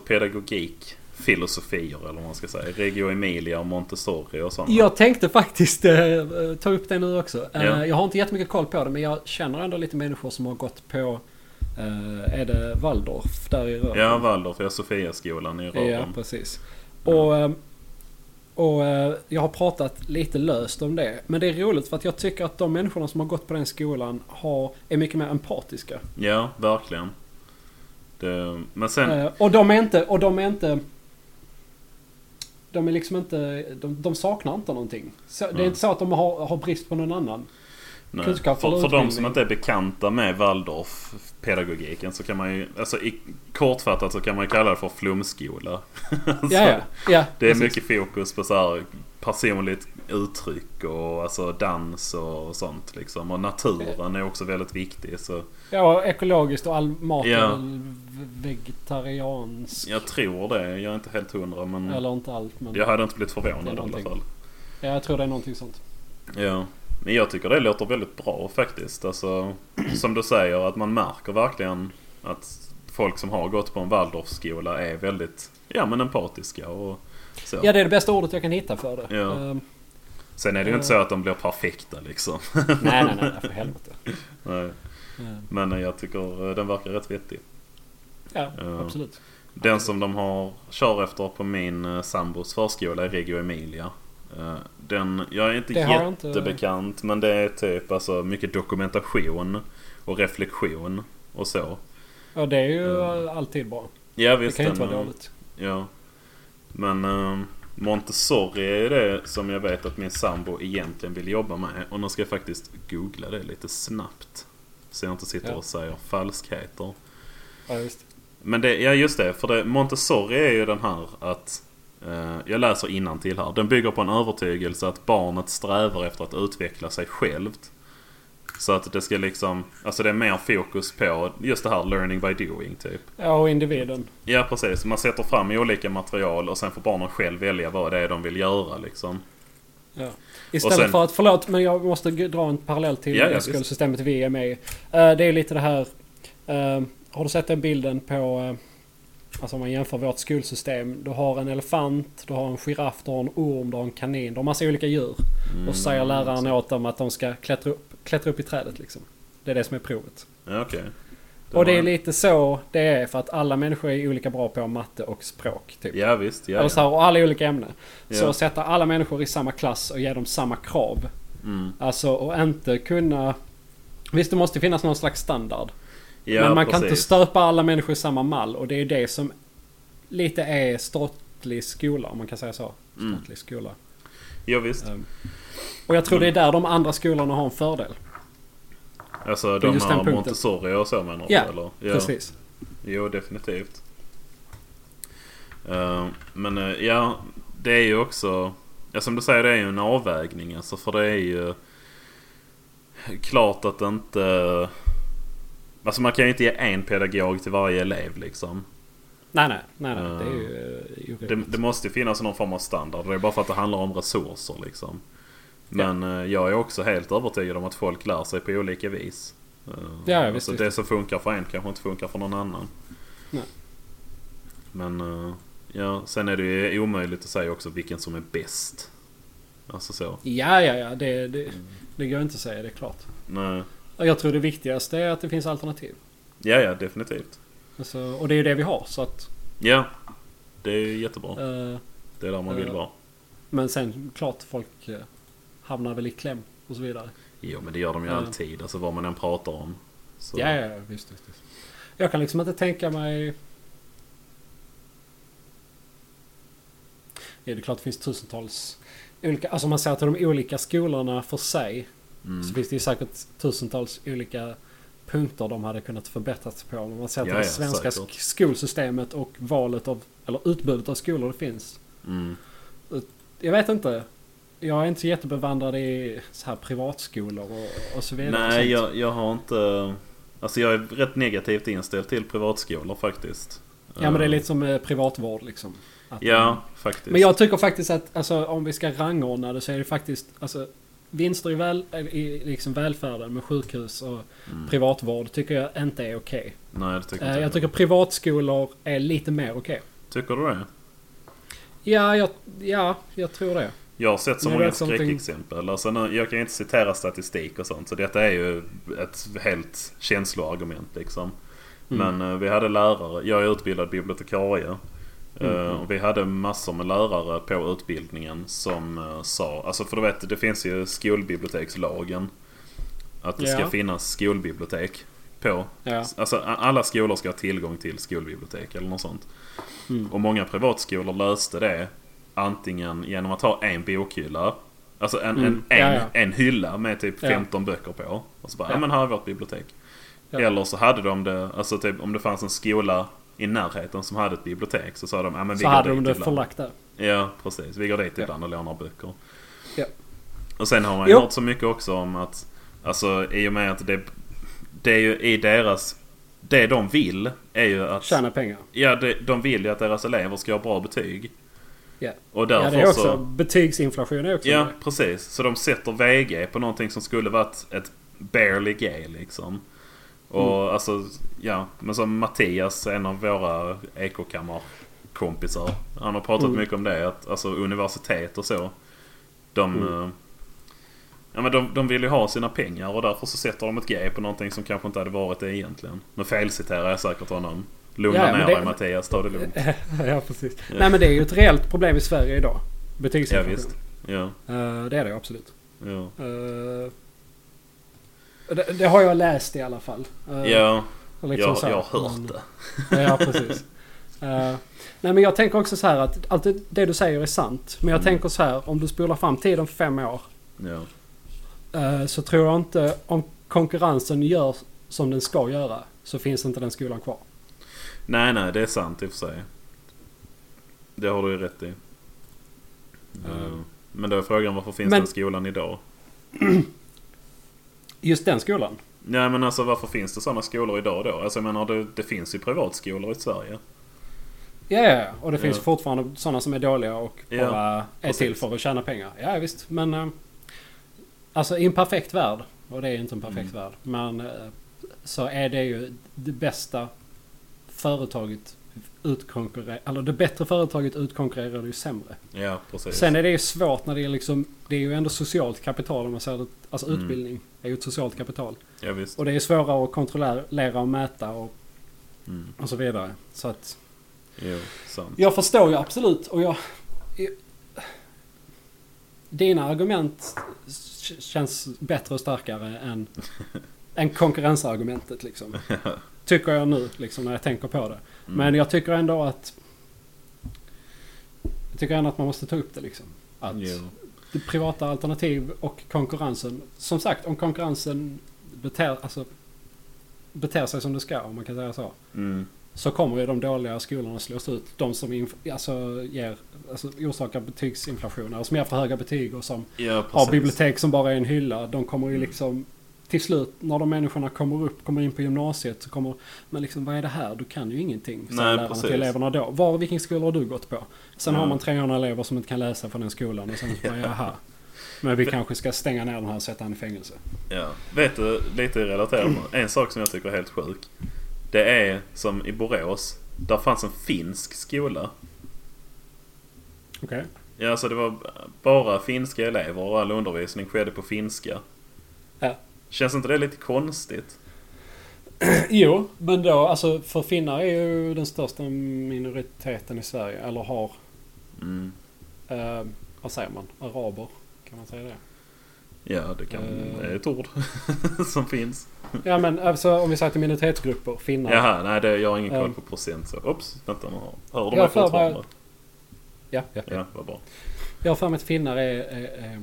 S2: pedagogikfilosofier eller vad man ska säga? Reggio Emilia och Montessori och sånt?
S1: Jag tänkte faktiskt eh, ta upp det nu också. Eh,
S2: Ja.
S1: Jag har inte jättemycket koll på det men jag känner ändå lite människor som har gått på eh, är det Waldorf där i Rören?
S2: Ja, Waldorf, ja, Sofiaskolan i
S1: Ja,
S2: Rörum.
S1: precis. Och, ehm, och eh, jag har pratat lite löst om det. Men det är roligt för att jag tycker att de människorna som har gått på den skolan har, är mycket mer empatiska.
S2: Ja, verkligen. Det, men sen...
S1: Eh, Och de är inte... Och de är inte de är liksom inte... De, de saknar inte någonting. Så, det är
S2: Mm.
S1: inte så att de har, har brist på någon annan.
S2: Nej.
S1: Kunskap
S2: För,
S1: eller
S2: för de som
S1: utbildning.
S2: inte är bekanta med Waldorf-pedagogiken så kan man ju... Alltså i, kortfattat så kan man ju kalla det för flumskola. Alltså,
S1: Ja, ja. ja
S2: Det är
S1: precis.
S2: mycket fokus på så här personligt uttryck och alltså dans och sånt liksom. Och naturen är också väldigt viktig. Så
S1: Ja, och ekologiskt och all mat
S2: Ja.
S1: är väl v- vegetariansk.
S2: jag tror det. Jag är inte helt hundra men...
S1: Eller inte allt men...
S2: Jag
S1: Ja.
S2: hade inte blivit
S1: Det
S2: förvånad
S1: är
S2: i alla
S1: någonting.
S2: fall.
S1: jag tror det är någonting sånt.
S2: Ja. Men jag tycker det låter väldigt bra faktiskt. Alltså, som du säger, att man märker verkligen att folk som har gått på en Waldorfskola är väldigt ja, men empatiska. Och så.
S1: Ja, det är det bästa ordet jag kan hitta för det.
S2: Ja.
S1: Ehm,
S2: Sen är det ju inte så att de blir perfekta liksom.
S1: nej, nej, nej, för helvete.
S2: Nej.
S1: Ehm,
S2: Men eh, jag tycker eh, den verkar rätt vettig.
S1: ja,
S2: Ja.
S1: absolut.
S2: Den som de har kör efter på min eh, sambos förskola är Reggio Emilia. Eh, Den, jag är inte
S1: Det har jag inte-
S2: jättebekant men det är typ alltså mycket dokumentation och reflektion och så.
S1: Ja, det är ju alltid bra.
S2: Ja
S1: Det
S2: visst.
S1: kan ju inte
S2: den,
S1: vara
S2: eh,
S1: dåligt.
S2: Ja. Men eh, Montessori är det som jag vet att min sambo egentligen vill jobba med. Och nu ska jag faktiskt googla det lite snabbt. Så jag inte sitter
S1: Ja.
S2: och säger falskheter.
S1: Ja, visst.
S2: Men det, ja just det, för det, Montessori är ju den här att eh, jag läser till här. Den bygger på en övertygelse att barnet strävar efter att utveckla sig självt. Så att det ska liksom, alltså det är mer fokus på just det här learning by doing typ.
S1: Ja, och individen.
S2: Ja precis, man sätter fram olika material och sen får barnen själv välja vad det är de vill göra liksom.
S1: Ja. Istället
S2: sen-
S1: för att, förlåt men jag måste g- dra en parallell till
S2: Ja, ja, visst.
S1: skolsystemet vi är med i. Eh, Det är lite det här, eh, har du sett den bilden på, eh, alltså om man jämför vårt skolsystem. Du har en elefant, du har en giraff, du har en orm, du har en kanin. Du har massa olika djur. och så
S2: Mm,
S1: säger läraren åt dem att de ska klättra upp, klättra upp i trädet liksom. Det är det som är provet.
S2: Ja, okej.
S1: och det
S2: var-
S1: är lite så det är för att alla människor är olika bra på matte och språk. Typ.
S2: Ja visst, ja.
S1: Eller
S2: ja.
S1: så här, och alla olika ämnen. Så
S2: Ja.
S1: att sätta alla människor i samma klass och ge dem samma krav.
S2: Mm.
S1: Alltså och inte kunna... Visst det måste finnas någon slags standard.
S2: ja
S1: men man kan inte
S2: precis.
S1: stöpa alla människor i samma mall och det är det som lite är statlig skola om man kan säga så.
S2: Mm.
S1: Statlig skola.
S2: Ja, visst.
S1: Ehm, Och jag tror
S2: Mm.
S1: det är där de andra skolorna har en fördel.
S2: Alltså
S1: det är
S2: de
S1: just den
S2: här
S1: punkten.
S2: Montessori och så menar du
S1: Ja,
S2: eller?
S1: Precis.
S2: Jo, definitivt. Eh, men eh, ja, det är ju också... Ja, som du säger, det är ju en avvägning alltså. För det är ju klart att det inte... Alltså man kan ju inte ge en pedagog till varje elev liksom.
S1: Nej nej, nej, nej.
S2: Ehm,
S1: det är ju eh,
S2: Det,
S1: orimligt.
S2: det måste ju finnas någon form av standard. Det är bara för att det handlar om resurser liksom. Men eh, jag är också helt övertygad om att folk lär sig på olika vis. Eh,
S1: Ja, ja, visst,
S2: alltså
S1: visst.
S2: det som funkar för en kanske inte funkar för någon annan.
S1: Nej.
S2: Men eh, ja, sen är det ju omöjligt att säga också vilken som är bäst. Alltså så.
S1: Ja, ja, ja. Det, det, det går inte att säga, det är klart.
S2: Nej.
S1: Och Jag tror det viktigaste är att det finns alternativ.
S2: Ja, ja, definitivt.
S1: Alltså, och det är ju det vi har. Så att,
S2: Ja, det är jättebra.
S1: eh,
S2: Det är där man vill
S1: eh,
S2: vara.
S1: men sen klart folk eh, hamnar väl i kläm och så vidare.
S2: Jo, men det gör de ju
S1: Ja.
S2: alltid. Alltså vad man än pratar om. Så.
S1: Ja, ja, ja, visst, visst, visst. Jag kan liksom inte tänka mig... Ja, det är klart det finns tusentals olika... Alltså om man ser till de olika skolorna för sig.
S2: Mm.
S1: Så finns det ju säkert tusentals olika punkter de hade kunnat förbättras på. Om man ser till
S2: Ja,
S1: det
S2: ja,
S1: svenska
S2: säkert.
S1: sk- skolsystemet och valet av... Eller utbudet av skolor det finns.
S2: Mm.
S1: Jag vet inte. Jag är inte så jättebevandrad i så här privatskolor och, och så vidare. och sånt.
S2: Nej, jag, jag har inte... Alltså jag är rätt negativt inställd till privatskolor faktiskt.
S1: Ja men det är lite som eh, privatvård liksom. Att, eh,
S2: Ja, faktiskt.
S1: Men jag tycker faktiskt att alltså, om vi ska rangordna det så är det faktiskt alltså, vinster i, väl, i liksom välfärden med sjukhus och
S2: Mm.
S1: privatvård tycker jag inte är okej.
S2: Nej, det tycker
S1: Eh,
S2: inte
S1: Jag tycker privatskolor är lite mer okej.
S2: Tycker du det?
S1: Ja, jag, ja, jag tror det.
S2: Jag har sett så
S1: Men det är
S2: många
S1: something-
S2: skräckexempel. Alltså nu, jag kan ju inte citera statistik och sånt. Så detta är ju ett helt känsloargument liksom.
S1: Mm.
S2: Men eh, vi hade lärare. Jag är utbildad bibliotekarie. Eh,
S1: Mm.
S2: och vi hade massor med lärare på utbildningen som eh, sa... Alltså för du vet, det finns ju skolbibliotekslagen. Att det
S1: Ja.
S2: ska finnas skolbibliotek på
S1: Ja.
S2: Alltså a- alla skolor ska ha tillgång till skolbibliotek eller något sånt.
S1: Mm.
S2: Och många privatskolor löste det antingen genom att ha en bokhylla Alltså en,
S1: Mm.
S2: en, en,
S1: Ja, ja.
S2: en hylla med typ
S1: Ja.
S2: 15 böcker på. Och så bara, ja,
S1: Ja.
S2: men här är vårt bibliotek.
S1: Ja.
S2: Eller så hade de det, alltså typ om det fanns en skola i närheten som hade ett bibliotek så sa de, ja men vi
S1: Så
S2: går
S1: hade de
S2: dit
S1: det
S2: ibland."
S1: förlagt där.
S2: Ja, precis. Vi går dit
S1: Ja.
S2: ibland och lånar böcker.
S1: Ja.
S2: Och sen har man ju
S1: Jo.
S2: hört så mycket också om att, alltså i och med att det, det är ju i deras, det de vill är ju att,
S1: Tjäna pengar.
S2: ja det, de vill ju att deras elever ska ha bra betyg.
S1: Ja.
S2: Och därför
S1: Ja, det är
S2: så...
S1: också betygsinflation är också
S2: Ja,
S1: det.
S2: precis. Så de sätter VG på någonting som skulle varit ett barely gay liksom. Och
S1: Mm.
S2: alltså, ja. Men som Mattias, en av våra ekokammarkompisar. Han har pratat
S1: Mm.
S2: mycket om det. Att, alltså universitet och så. De,
S1: Mm.
S2: eh, ja, men de, de vill ju ha sina pengar och därför så sätter de ett G på någonting som kanske inte hade varit det egentligen. Nu felciterar jag säkert honom. Lugna
S1: Ja, ja, men
S2: ner
S1: det- Eh,
S2: dig Mattias, ta det lugnt.
S1: ja, precis.
S2: Ja.
S1: Nej men det är ju ett reellt problem i Sverige idag.
S2: Ja,
S1: Betygsinflation.
S2: visst. Ja,
S1: Eh, det är det ju absolut.
S2: ja.
S1: Eh, det, det har jag läst i alla fall. Eh,
S2: ja
S1: liksom
S2: jag,
S1: så här.
S2: jag har hört
S1: Men-
S2: det.
S1: Ja, precis. Eh, nej, men jag tänker också så här att allt det- det du säger är sant. Men jag
S2: Mm.
S1: tänker så här, om du spolar fram tiden fem år
S2: Ja.
S1: eh, så tror jag inte om konkurrensen gör som den ska göra så finns inte den skolan kvar.
S2: Nej, nej, det är sant i och för sig. Det har du ju rätt i. Eh, Men då är frågan varför finns
S1: Men-
S2: den skolan idag?
S1: Just den skolan.
S2: Nej men alltså varför finns det sådana skolor idag då? Alltså jag menar det, det finns ju privatskolor i Sverige.
S1: Ja, ja, ja. och det finns
S2: Ja.
S1: fortfarande sådana som är dåliga och bara
S2: Ja,
S1: är
S2: precis.
S1: till för att tjäna pengar. Ja, visst. Men eh, alltså i en perfekt värld, och det är inte en perfekt
S2: Mm.
S1: värld, men eh, så är det ju det bästa företaget utkonkurrerar, eller det bättre företaget utkonkurrerar det ju sämre.
S2: Ja precis.
S1: Sen är det ju svårt när det är liksom, det är ju ändå socialt kapital om man säger det, alltså
S2: Mm.
S1: utbildning är ju ett socialt kapital.
S2: Ja visst.
S1: Och det är svårare att kontrollera och mäta och,
S2: Mm.
S1: och så vidare. Så att
S2: Jo, sant.
S1: jag förstår ju absolut och jag... Dina argument k- känns bättre och starkare än, än konkurrensargumentet liksom. Tycker jag nu liksom när jag tänker på det.
S2: Mm.
S1: Men jag tycker ändå att... Jag tycker ändå att man måste ta upp det liksom. Att
S2: Jo.
S1: det privata alternativ och konkurrensen. Som sagt om konkurrensen beter, alltså, beter sig som det ska om man kan säga så.
S2: Mm.
S1: Så kommer ju de dåliga skolorna slås ut. De som inf- alltså ger, alltså orsakar betygsinflation. Eller som ger för höga betyg och som
S2: Ja precis. Mm.
S1: har bibliotek som bara är en hylla. De kommer ju liksom till slut när de människorna kommer upp, kommer in på gymnasiet så kommer Men liksom vad är det här? Du kan ju ingenting. säger
S2: Nej,
S1: lärarna
S2: precis. Mm.
S1: till eleverna då. Var, vilken skola har du gått på? Sen har
S2: Ja.
S1: man 300 elever som inte kan läsa från den skolan. Och sen så bara, jaha. Men vi kanske ska stänga ner den här och sätta han i fängelse.
S2: Ja. Vet du, lite relaterat. En sak som jag tycker är helt sjuk. Det är som i Borås. Där fanns en finsk skola.
S1: Okej?
S2: Ja, alltså det var bara finska elever och all undervisning skedde på finska.
S1: Ja.
S2: Känns inte det lite konstigt?
S1: Jo, men då alltså för finnar är ju den största minoriteten i Sverige. Eller har,
S2: Mm.
S1: eh, vad säger man, araber? Kan man säga det?
S2: Mm. Ja, det kan...
S1: Eh.
S2: Det är ett ord som finns.
S1: Ja men alltså om vi säger till minoritetsgrupper, finnar.
S2: Jaha, nej det, jag har ingen koll
S1: Eh.
S2: på procent så. Oops, vänta nu. Hör du
S1: Jag
S2: mig
S1: för mig-
S2: fortfarande?
S1: Ja, ja.
S2: Ja, vad bra.
S1: Jag har för mig att finnar är, är, är,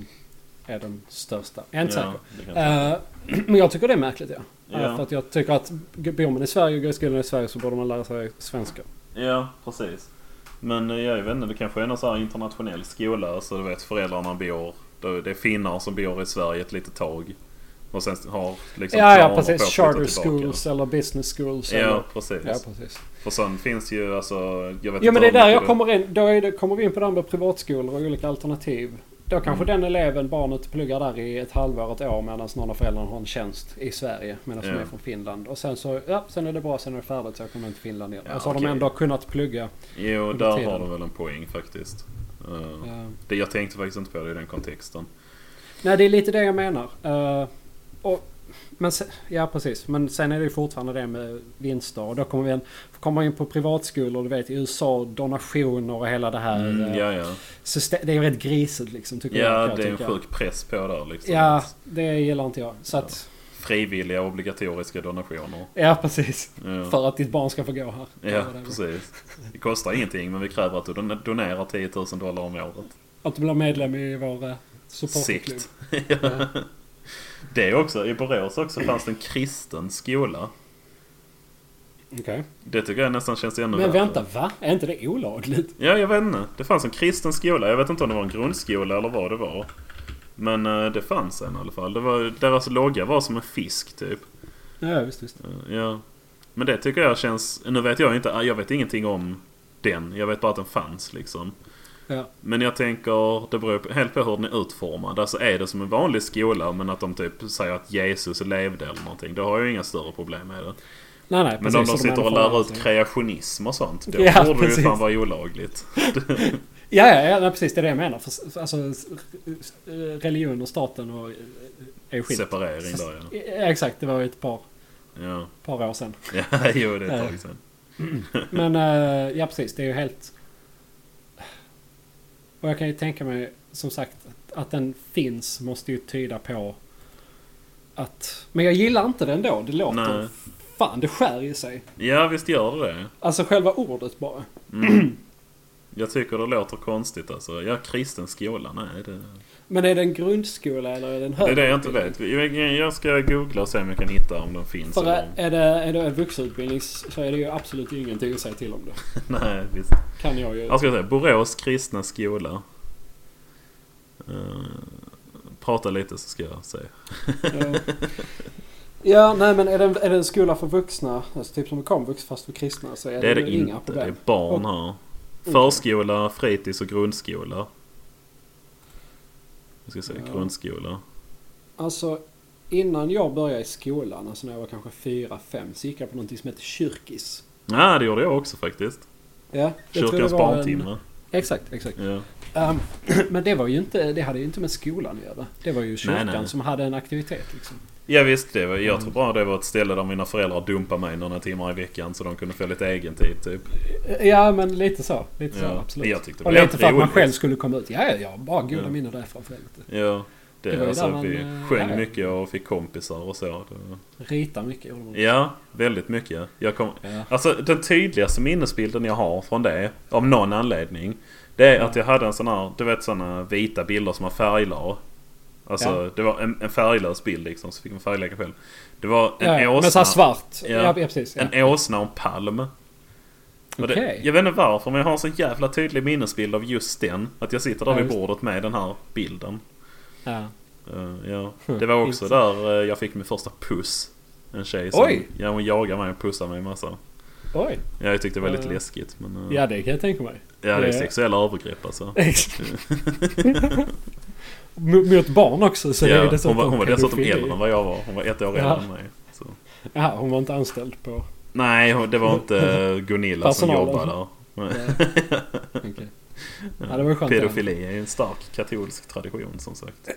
S1: är den största. Jag är inte
S2: ja,
S1: säker.
S2: det kan jag
S1: Eh, men jag tycker det är märkligt ja.
S2: Ja.
S1: Eh, För att jag tycker att bor man i Sverige och går i skolan i Sverige så borde man lära sig svenska.
S2: ja, precis. Men eh, jag vet inte, det kanske är någon så här internationell skola. Så du vet, föräldrarna bor... då- Det är finnar som bor i Sverige ett litet tag. Och sen har liksom
S1: ja,
S2: planer
S1: ja
S2: på att
S1: precis.
S2: flytta
S1: Charter
S2: tillbaka.
S1: schools eller business schools.
S2: Ja,
S1: Eller,
S2: precis.
S1: ja precis.
S2: För sen finns ju alltså... Jag vet
S1: Ja men det är
S2: hur
S1: där
S2: mycket
S1: jag kommer in. Då är det, kommer vi in på det här med privatskolor och olika alternativ. Då kanske
S2: Mm.
S1: den eleven, barnet pluggar där i ett halvår, ett år medan någon av föräldrarna har en tjänst i Sverige medan
S2: Ja.
S1: de är från Finland. Och sen så, ja sen är det bra, sen är det färdigt så jag kommer inte till Finland igen.
S2: Ja,
S1: och så har de
S2: okej.
S1: ändå kunnat plugga.
S2: Jo,
S1: under
S2: där
S1: tiden.
S2: har de väl en poäng faktiskt. Eh,
S1: Eh,
S2: det, jag tänkte faktiskt inte på det i den kontexten.
S1: nej det är lite det jag menar. Eh, och, men se, ja precis, men sen är det ju fortfarande det med vinster. Och då kommer vi in, kommer in på privatskolor, du vet i USA, donationer och hela det här.
S2: Mm,
S1: eh,
S2: ja, ja.
S1: system, det är ju rätt grisigt liksom tycker jag. kan
S2: Ja,
S1: jag
S2: det är en
S1: tycka.
S2: sjuk press på där liksom.
S1: Ja,
S2: Att
S1: det gillar inte jag. Så att,
S2: Frivilliga obligatoriska donationer.
S1: ja. precis.
S2: Ja,
S1: För att ditt barn ska få gå här.
S2: ja
S1: Eller vad det är.
S2: precis. Det kostar ingenting men vi kräver att du don- donerar 10 000 dollar om året.
S1: Att du blir medlem i vår eh, Supporterklubb.
S2: Sikt. Ja. det också. I Borås också fanns det en kristen skola.
S1: Okej.
S2: Det tycker jag nästan känns ännu
S1: Men
S2: värre.
S1: vänta, va? Är inte det olagligt?
S2: Ja, jag vet inte. Det fanns en kristen skola. Jag vet inte om det var en grundskola eller vad det var. Men eh, det fanns en i alla fall. Det var, deras logga var som en fisk typ.
S1: Ja, visst, visst.
S2: Eh, Ja. Men det tycker jag känns... Nu vet jag inte... Jag vet ingenting om den. Jag vet bara att den fanns liksom.
S1: Ja.
S2: Men jag tänker, det beror på- helt på hur den är utformad. Alltså är det som en vanlig skola men att de typ säger att Jesus levde eller någonting. Då har jag inga större problem med det.
S1: Nej, nej,
S2: Men om
S1: så
S2: de sitter och
S1: ändå får
S2: lär
S1: det.
S2: ut kreationism och sånt. Då
S1: Ja,
S2: borde det ju
S1: precis.
S2: fan vara olagligt.
S1: Ja, ja, ja nej, precis. Det är det jag menar. För, för, alltså, s- s- religion och staten och, eh, är ju skilt.
S2: Separering där ja.
S1: Ja, Exakt, det var ju ett par,
S2: ja.
S1: par år sedan.
S2: Ja, jo det är ett
S1: Ja.
S2: tag sedan.
S1: Men eh, ja, precis. Det är ju helt... Och jag kan ju tänka mig, som sagt, att, att den finns måste ju tyda på att... Men jag gillar inte den då. Det låter...
S2: Nej.
S1: Fan, det skär i sig.
S2: Ja, visst gör det det.
S1: Alltså själva ordet bara.
S2: Jag tycker det låter konstigt alltså. Ja, kristen skola, nej det...
S1: Men är det en grundskola eller är det en
S2: Det är
S1: högre?
S2: det jag inte vet. Jag- Jag ska googla och se om jag kan hitta om den finns
S1: För
S2: eller
S1: är
S2: om...
S1: är det, är det en vuxenutbildning så är det ju absolut ingenting att säga till om det.
S2: Nej, visst.
S1: Kan jag ju.
S2: Jag ska säga Borås kristna skola. Eh, prata lite så ska jag se.
S1: Eh, ja, nej men är det, en, är det en skola för vuxna, alltså typ som en komvux fast för kristna så är
S2: Det är
S1: det,
S2: det
S1: inga
S2: inte. Det är
S1: problem.
S2: barn här.
S1: Okej.
S2: Förskola, fritids och grundskola. Jag ska säga
S1: Ja.
S2: grundskola.
S1: Alltså innan jag började i skolan, alltså när jag var kanske fyra fem så gick jag på någonting som heter kyrkis.
S2: Nej, det gjorde jag också faktiskt.
S1: Ja, jag tror det
S2: Kyrkans
S1: var en-
S2: barntimme.
S1: Exakt, exakt.
S2: Ja.
S1: Ehm, men det var ju inte, det hade ju inte med skolan att göra. Det var ju kyrkan
S2: nej.
S1: som hade en aktivitet liksom.
S2: Ja visst, det var, jag tror bara det var ett ställe där mina föräldrar dumpade mig några timmar i veckan så de kunde få lite egen tid typ.
S1: Ja, men lite så. Lite så,
S2: Ja,
S1: absolut.
S2: jag tyckte det
S1: och
S2: var
S1: lite för att man
S2: roligt.
S1: själv skulle komma ut. Ja, ja, ja. Bara goda
S2: Ja.
S1: minnen därifrån för helvete.
S2: Ja, det,
S1: Det var ju
S2: alltså,
S1: där man,
S2: vi
S1: eh,
S2: sjöng
S1: ja.
S2: mycket och fick kompisar och så. Det,
S1: Rita mycket gjorde man.
S2: ja, väldigt mycket. Jag kom,
S1: Ja.
S2: alltså den tydligaste minnesbilden jag har från det, av någon anledning, det är att jag hade en sån här, du vet såna vita bilder som man färglade. Alltså
S1: Ja.
S2: det var en, en färglös bild liksom, så fick man färglägga själv. Det var en
S1: Ja, ja, men
S2: åsna.
S1: såhär svart.
S2: Ja.
S1: Ja, ja precis. Ja.
S2: En åsna och en palm. Och det-
S1: Okej.
S2: Jag vet inte varför men jag har en sån jävla tydlig minnesbild av just den. Att jag sitter där
S1: Ja,
S2: vid
S1: just det.
S2: bordet med den här bilden.
S1: Ja.
S2: Eh, ja.
S1: Hm,
S2: Det var också
S1: intressant.
S2: där eh, jag fick min första puss. En tjej som
S1: Oj!
S2: ja, hon jagade mig och pussade mig en massa.
S1: Oj.
S2: Ja, jag tyckte det var lite
S1: Eh.
S2: läskigt. Men, eh,
S1: Ja, det kan jag tänka mig.
S2: ja, det är
S1: det-
S2: sexuella övergrepp alltså.
S1: Mot mot barn också så är
S2: Ja,
S1: det dessutom
S2: hon var, hon var dessutom
S1: pedofili.
S2: äldre än vad jag var. Hon var ett år
S1: Ja.
S2: äldre än mig. Så.
S1: Ja, hon var inte anställd på...
S2: Nej, hon- det var inte Gunilla som
S1: Personalen.
S2: jobbade där. Men,
S1: eh, Okej. Ja, det var ju skönt.
S2: Pedofili är ju en stark katolsk tradition som sagt.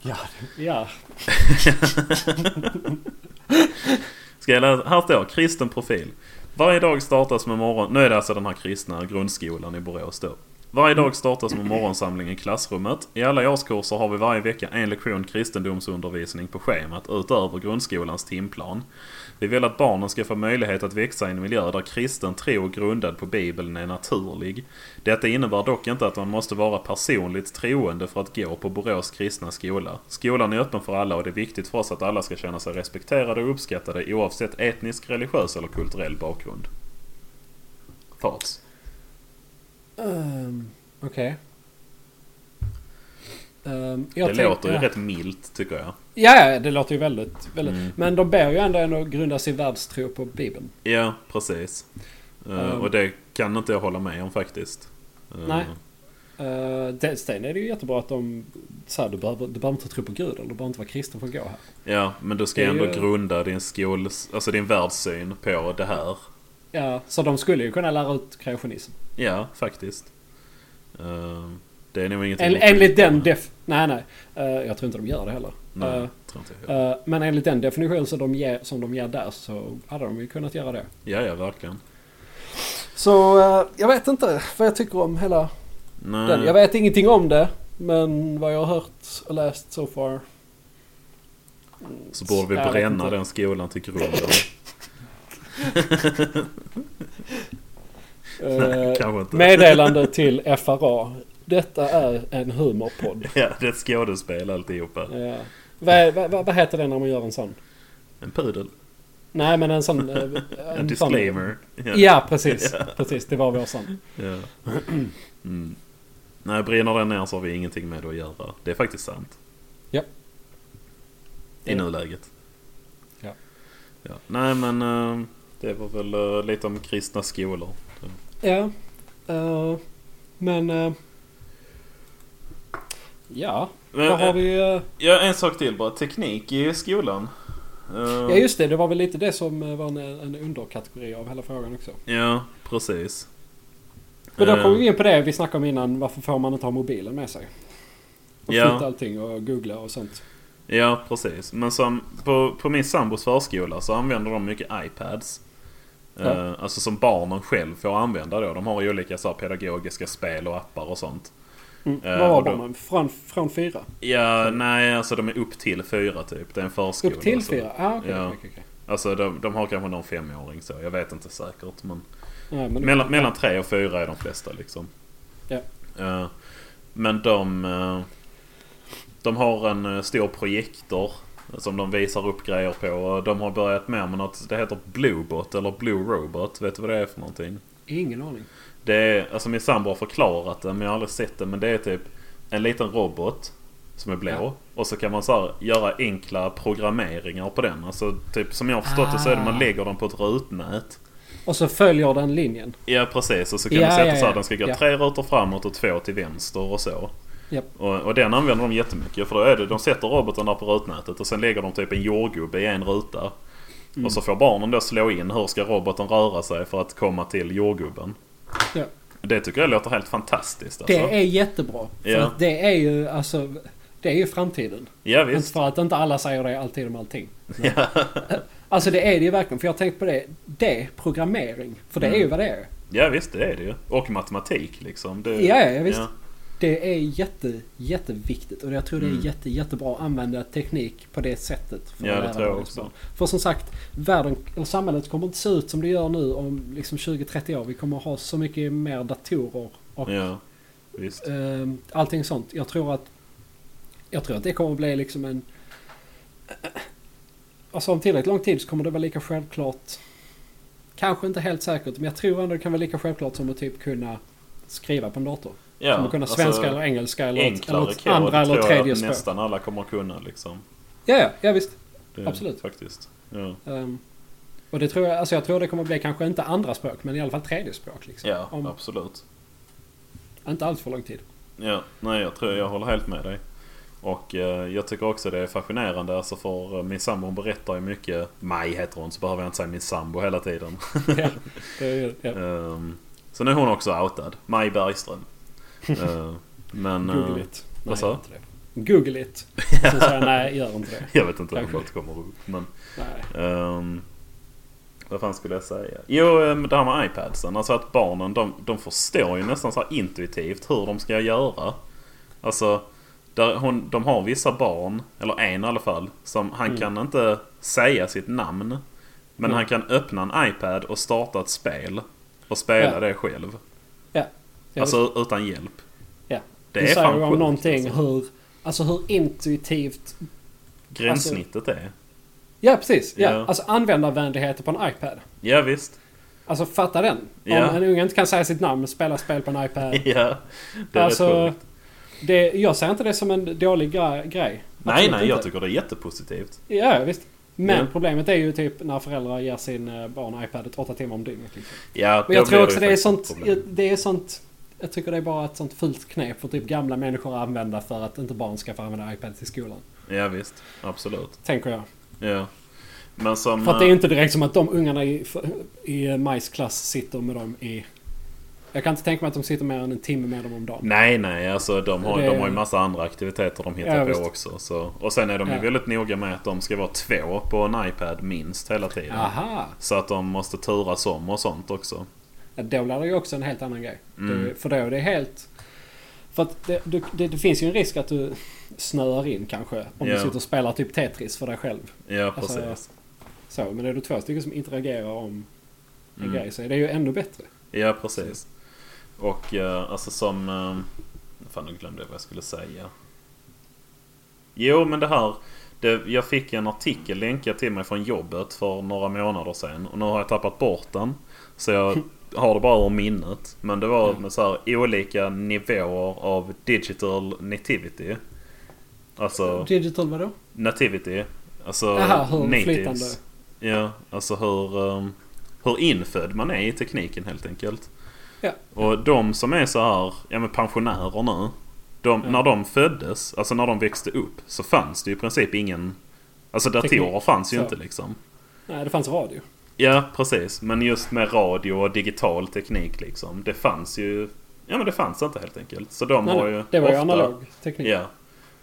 S1: Ja, det- ja.
S2: Ska jag läsa? Här står kristen profil. Varje dag startas med morgon... Nu är det alltså den här kristna grundskolan i Borås då. Varje dag startas med morgonsamling i klassrummet. I alla årskurser har vi varje vecka en lektion kristendomsundervisning på schemat utöver grundskolans timplan. Vi vill att barnen ska få möjlighet att växa i en miljö där kristen tro grundad på bibeln är naturlig. Detta innebär dock inte att man måste vara personligt troende för att gå på Borås kristna skola. Skolan är öppen för alla och det är viktigt för oss att alla ska känna sig respekterade och uppskattade oavsett etnisk, religiös eller kulturell bakgrund. Thoughts?
S1: Ehm, Okej. Ehm,
S2: Det
S1: jag tänk-
S2: låter ju
S1: ja.
S2: rätt milt tycker jag.
S1: Ja, ja, det låter ju väldigt... väldigt.
S2: Mm.
S1: Men de ber ju ändå en att grunda sin världstro på Bibeln.
S2: Ja, precis. Eh,
S1: Ehm.
S2: och det kan inte jag hålla med om faktiskt. Eh,
S1: Nej. Uh, det, sen är det ju jättebra att de... Så här, du, behöver, du behöver inte tro på Gud eller du behöver inte vara kristen för att gå här.
S2: Ja, men du ska
S1: Det
S2: ju
S1: är
S2: ändå
S1: ju-
S2: grunda din skol... Alltså din världssyn på det här.
S1: Ja, så de skulle ju kunna lära ut kreationism.
S2: Ja, faktiskt. Eh, det är nog ingenting...
S1: En,
S2: de skiter
S1: enligt den
S2: med.
S1: def... Nej, nej. Eh, jag tror inte de gör det heller.
S2: Nej,
S1: Eh,
S2: tror inte jag.
S1: eh, men enligt den definition som de, ger, som de ger där så hade de ju kunnat göra det.
S2: Ja, ja, verkligen.
S1: Så eh, jag vet inte vad jag tycker om hela
S2: Nej.
S1: den. Jag vet ingenting om det. Men vad jag har hört och läst so far.
S2: Så borde vi
S1: Jag vet
S2: bränna
S1: inte.
S2: den skolan till grunden.
S1: eh,
S2: Kanske inte.
S1: eh, meddelande till FRA. Detta är en humorpodd.
S2: Ja, det är ett skådespel alltihopa.
S1: Ja. Vad, vad, vad heter det när man gör en sån?
S2: En pudel.
S1: Nej men en sån... eh,
S2: En,
S1: sån-
S2: disclaimer.
S1: Ja precis. Precis, det var vår sån.
S2: Ja. Mm. Nej, brinner den ner så har vi ingenting med det att göra. Det är faktiskt sant.
S1: Ja.
S2: I nuläget.
S1: Ja.
S2: Ja. Nej, men eh, det var väl eh, lite om kristna skolor.
S1: Ja. eh, men... eh, ja.
S2: Men,
S1: Vad har
S2: eh,
S1: vi... eh,
S2: Ja, en sak till bara. Teknik i skolan. Eh,
S1: Ja just det, det var väl lite det som eh, var en, en underkategori av hela frågan också.
S2: Ja, precis.
S1: Men då
S2: Eh,
S1: kommer vi in på det vi snackade om innan. Varför får man inte ha mobilen med sig? Och
S2: Ja.
S1: flytta allting och googla och sånt.
S2: Eh, Ja, precis. Men som på, på min sambos förskola så använder de mycket iPads.
S1: Ja.
S2: Eh, alltså som barnen själv får använda då. De har ju olika så här, pedagogiska spel och appar och sånt.
S1: Mm.
S2: Eh,
S1: Vad var
S2: och då-
S1: barnen? Från, från fyra?
S2: Ja, nej alltså de är upp till fyra typ. Det är en förskola.
S1: Upp till
S2: alltså.
S1: fyra? Ah, okej,
S2: Ja.
S1: okej, okej, okej.
S2: Alltså de, de har kanske någon femåring så. Jag vet inte säkert. Men...
S1: Nej, men-
S2: Mellan, mellan tre och fyra är de flesta liksom.
S1: Ja.
S2: Eh, men de... eh, de har en eh, stor projektor som de visar upp grejer på. Och de har börjat med, med något, det heter Bluebot eller Blue Robot. Vet du vad det är för någonting?
S1: Ingen aning.
S2: Det är, alltså min sambo har förklarat det men jag har aldrig sett det. Men det är typ en liten robot som är blå.
S1: Ja.
S2: Och så kan man så här, göra enkla programmeringar på den. Alltså typ som jag har förstått det så är det man
S1: Ah.
S2: lägger den på ett rutnät.
S1: Och så följer den linjen.
S2: Ja precis och så kan
S1: Ja,
S2: du sätta
S1: ja,
S2: så här,
S1: ja.
S2: den ska gå
S1: Ja.
S2: tre rutor framåt och två till vänster och så.
S1: Japp.
S2: Och, och den använder de jättemycket för då är det, de sätter roboten där på rutnätet och sen lägger de typ en jordgubbe i en ruta.
S1: Mm.
S2: Och så får barnen då slå in hur ska roboten röra sig för att komma till jordgubben.
S1: Ja.
S2: Det tycker jag låter helt fantastiskt alltså.
S1: Det är jättebra. För
S2: Ja.
S1: att det är ju alltså... Det är ju framtiden.
S2: Ja
S1: Inte
S2: visst.
S1: för att inte alla säger det alltid om allting.
S2: Ja.
S1: Alltså det är det ju verkligen. För jag har tänkt på det. Det, programmering. För det är
S2: Mm.
S1: ju vad det är.
S2: ja visst det är det ju. Och matematik liksom. Det,
S1: Ja, ja, visst.
S2: Ja.
S1: Det är jätte, jätteviktigt och jag tror det är
S2: Mm.
S1: jätte, jättebra att använda teknik på det sättet. För
S2: Ja,
S1: att
S2: det
S1: lära
S2: tror jag
S1: barn.
S2: också.
S1: För som sagt, världen, eller samhället kommer inte se ut som det gör nu om liksom 20-30 år. Vi kommer ha så mycket mer datorer och
S2: ja. Visst.
S1: ehm, allting sånt. Jag tror att jag tror att det kommer att bli liksom en... Alltså om tillräckligt lång tid så kommer det vara lika självklart. Kanske inte helt säkert, men jag tror ändå det kan vara lika självklart som att typ kunna skriva på en dator.
S2: Ja, alltså,
S1: Kommer kunna svenska eller engelska eller ett,
S2: enklare
S1: eller ett
S2: kod
S1: andra eller
S2: tror jag
S1: tredje
S2: att
S1: språk.
S2: nästan alla kommer att kunna liksom.
S1: Ja, ja, ja visst.
S2: Det,
S1: Absolut.
S2: Faktiskt. Ja.
S1: Ehm, och det tror jag, alltså jag tror det kommer bli kanske inte andra språk, men i alla fall tredje språk. Liksom.
S2: Ja,
S1: Om
S2: absolut.
S1: inte allt för lång tid.
S2: Ja, nej, jag tror jag håller helt med dig. Och eh, jag tycker också det är fascinerande alltså för eh, min sambo hon berättar ju mycket. Maj heter hon så behöver jag inte säga min sambo hela tiden.
S1: ja, det är, ju- ja.
S2: Ehm, så nu är hon också outad. Maj Bergström. Eh, men... eh,
S1: Google it. Nej,
S2: vad sa
S1: gör inte det. Google it. Så säger jag nej, gör inte det.
S2: jag vet inte om
S1: Kanske.
S2: det kommer upp. Men,
S1: Nej.
S2: ehm, vad fan skulle jag säga? Jo, eh, det här med iPadsen. Alltså att barnen de, de förstår ju nästan så här intuitivt hur de ska göra. Alltså, där hon, de har vissa barn, eller en i alla fall, som han kan inte säga sitt namn. Men
S1: Mm.
S2: han kan öppna en iPad och starta ett spel. Och spela
S1: Ja.
S2: det själv.
S1: Ja. ja visst.
S2: Alltså utan hjälp.
S1: ja.
S2: det
S1: Du
S2: är
S1: säger
S2: fan
S1: om
S2: sjukt,
S1: någonting
S2: alltså.
S1: hur, alltså hur intuitivt...
S2: Gränssnittet
S1: Alltså-
S2: är...
S1: Ja, precis. Ja.
S2: Ja.
S1: Alltså användarvänligheter på en iPad.
S2: Ja visst.
S1: Alltså fatta den.
S2: Ja.
S1: Om en unge inte kan säga sitt namn, spela spel på en iPad.
S2: Ja. Det är rätt
S1: alltså,
S2: sjukt.
S1: det, jag säger inte det som en dålig gra- grej.
S2: Nej,
S1: Absolut
S2: nej, jag
S1: inte.
S2: tycker det är jättepositivt.
S1: Ja, visst. Men
S2: Ja.
S1: problemet är ju typ när föräldrar ger sin eh, barn iPad ett åtta timmar om dygnet. Liksom.
S2: Ja,
S1: Men jag
S2: då
S1: tror
S2: blir
S1: också
S2: ju
S1: det är,
S2: faktiskt ett
S1: sånt,
S2: problem.
S1: det är sånt... Jag tycker det är bara ett sånt fult knep för typ gamla människor att använda för att inte barn ska få använda iPad till skolan.
S2: Ja visst, absolut.
S1: Tänker jag.
S2: Ja. Men som...
S1: För att det är ju inte direkt som att de ungarna i, i Majs klass sitter med dem i... Jag kan inte tänka mig att de sitter mer än en timme med dem om dagen.
S2: Nej, nej, alltså de har,
S1: Det-
S2: de har ju massa andra aktiviteter de hittar
S1: Ja,
S2: på
S1: visst.
S2: också. Så. Och sen är de ju
S1: Ja.
S2: väldigt noga med att de ska vara två på en iPad minst hela tiden.
S1: Aha!
S2: Så att de måste turas om och sånt också.
S1: Ja, Då blir det ju också en helt annan grej.
S2: Mm.
S1: Det, för då är det helt... För att det, du, det, det finns ju en risk att du snöar in kanske. Om
S2: Ja.
S1: du sitter och spelar typ Tetris för dig själv.
S2: Ja,
S1: Alltså,
S2: precis.
S1: Så, men är du två stycken som interagerar om en
S2: Mm.
S1: grej så är det ju ännu bättre.
S2: Ja, precis. Och eh, alltså som... eh, Fan, nu glömde jag vad jag skulle säga. Jo, men det här. Det, jag fick en artikel länkad till mig från jobbet för några månader sedan. Och nu har jag tappat bort den. Så jag har det bara ur minnet. Men det var med så här olika nivåer av digital nativity. Alltså
S1: Digital vadå?
S2: nativity. Alltså
S1: Jaha, hur flytande.
S2: natives. Ja, alltså hur, um, hur infödd man är i tekniken helt enkelt.
S1: Ja.
S2: Och de som är så här, ja men pensionärer nu. De,
S1: Ja.
S2: När de föddes, alltså när de växte upp, så fanns det ju i princip ingen... Alltså datorer
S1: Teknik,
S2: fanns ju
S1: så.
S2: inte liksom.
S1: Nej, det fanns radio.
S2: Ja, precis. Men just med radio och digital teknik liksom. Det fanns ju... Ja men det fanns inte helt enkelt. Så de
S1: Nej,
S2: har
S1: nej,
S2: ju
S1: det var ju
S2: ofta-
S1: analog teknik.
S2: Ja.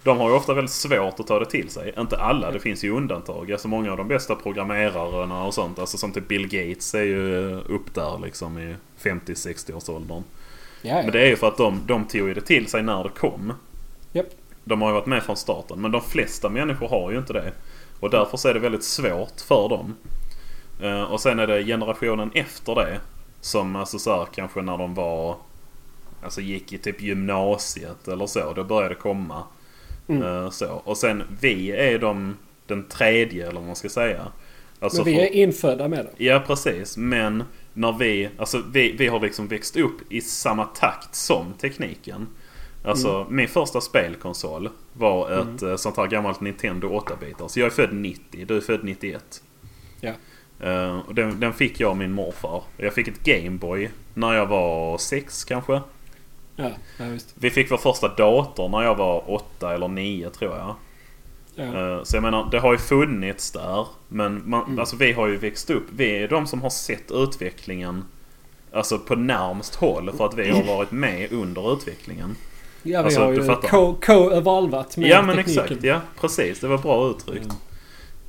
S2: De har ju ofta väldigt svårt att ta det till sig. Inte alla, det finns ju undantag. Alltså många av de bästa programmerarna och sånt. Alltså som typ Bill Gates är ju upp där liksom i 50-60-årsåldern.
S1: Ja,
S2: Men
S1: ja.
S2: det är ju för att de, de tog ju det till sig när det kom.
S1: Japp.
S2: De har ju varit med från starten. Men de flesta människor har ju inte det. Och därför så är det väldigt svårt för dem. Eh, och sen är det generationen efter det. Som alltså så här, kanske när de var... Alltså gick i typ gymnasiet eller så. Då började det komma.
S1: Mm.
S2: Eh, så. Och sen vi är de, den tredje eller vad man ska säga. Alltså
S1: Men vi
S2: för-
S1: är infödda med det.
S2: Ja precis, men när vi, alltså vi, vi har liksom växt upp i samma takt som tekniken. Alltså min första spelkonsol var ett eh, sånt här gammalt Nintendo 8-bitar. Så jag är född 90, du är född 91.
S1: Ja.
S2: Eh, och den, den fick jag av min morfar. Jag fick ett Gameboy när jag var sex kanske.
S1: Ja, ja visst.
S2: Vi fick vår första dator när jag var åtta eller nio tror jag.
S1: Ja.
S2: Eh, Så jag menar, det har ju funnits där. Men man,
S1: Mm.
S2: alltså, vi har ju växt upp. Vi är de som har sett utvecklingen alltså, på närmst håll. För att vi
S1: Mm.
S2: har varit med under utvecklingen.
S1: ja, vi
S2: alltså,
S1: har
S2: du
S1: ju
S2: fattar.
S1: ko- ko-evalvat med
S2: ja men
S1: tekniken. Mm.
S2: exakt. Ja, precis. Det var bra uttryckt.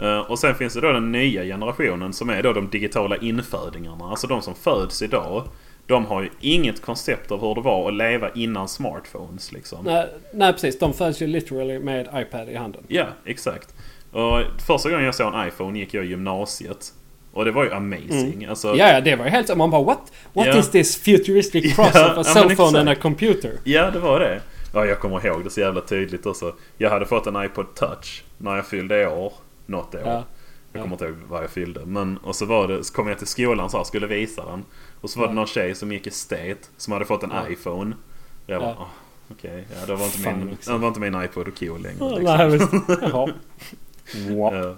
S2: Eh, Och sen finns det då den nya generationen som är då de digitala infödingarna. Alltså de som föds idag. De har ju inget koncept av hur det var att leva innan smartphones liksom.
S1: Nej, nej, precis. De föds ju literally med iPad i handen.
S2: Ja, exakt. Och första gången jag såg en iPhone gick jag i gymnasiet. Och det var ju amazing. Alltså,
S1: Mm. Ja, ja, det var ju helt... Man bara what? What
S2: Ja.
S1: is this futuristic
S2: Ja,
S1: cross of
S2: ja,
S1: a
S2: men
S1: cell phone and a
S2: exakt.
S1: computer?
S2: ja, det var det. Ja, jag kommer ihåg det så jävla tydligt också. Jag hade fått en iPod touch när jag fyllde år. Något år.
S1: Ja.
S2: Jag kommer inte ihåg vad jag fyllde. Men, och så, var det, så kom jag till skolan så här, skulle visa den. Och så var det någon tjej som gick estet som hade fått en
S1: Ja.
S2: iPhone. Och jag bara,
S1: Ja.
S2: "Åh, okej. Ja, det var inte
S1: Fan
S2: min,
S1: också.
S2: det var inte min iPod och cool längre.
S1: Ja,
S2: liksom.
S1: Nej, visst. Jaha. Wow.
S2: Eh,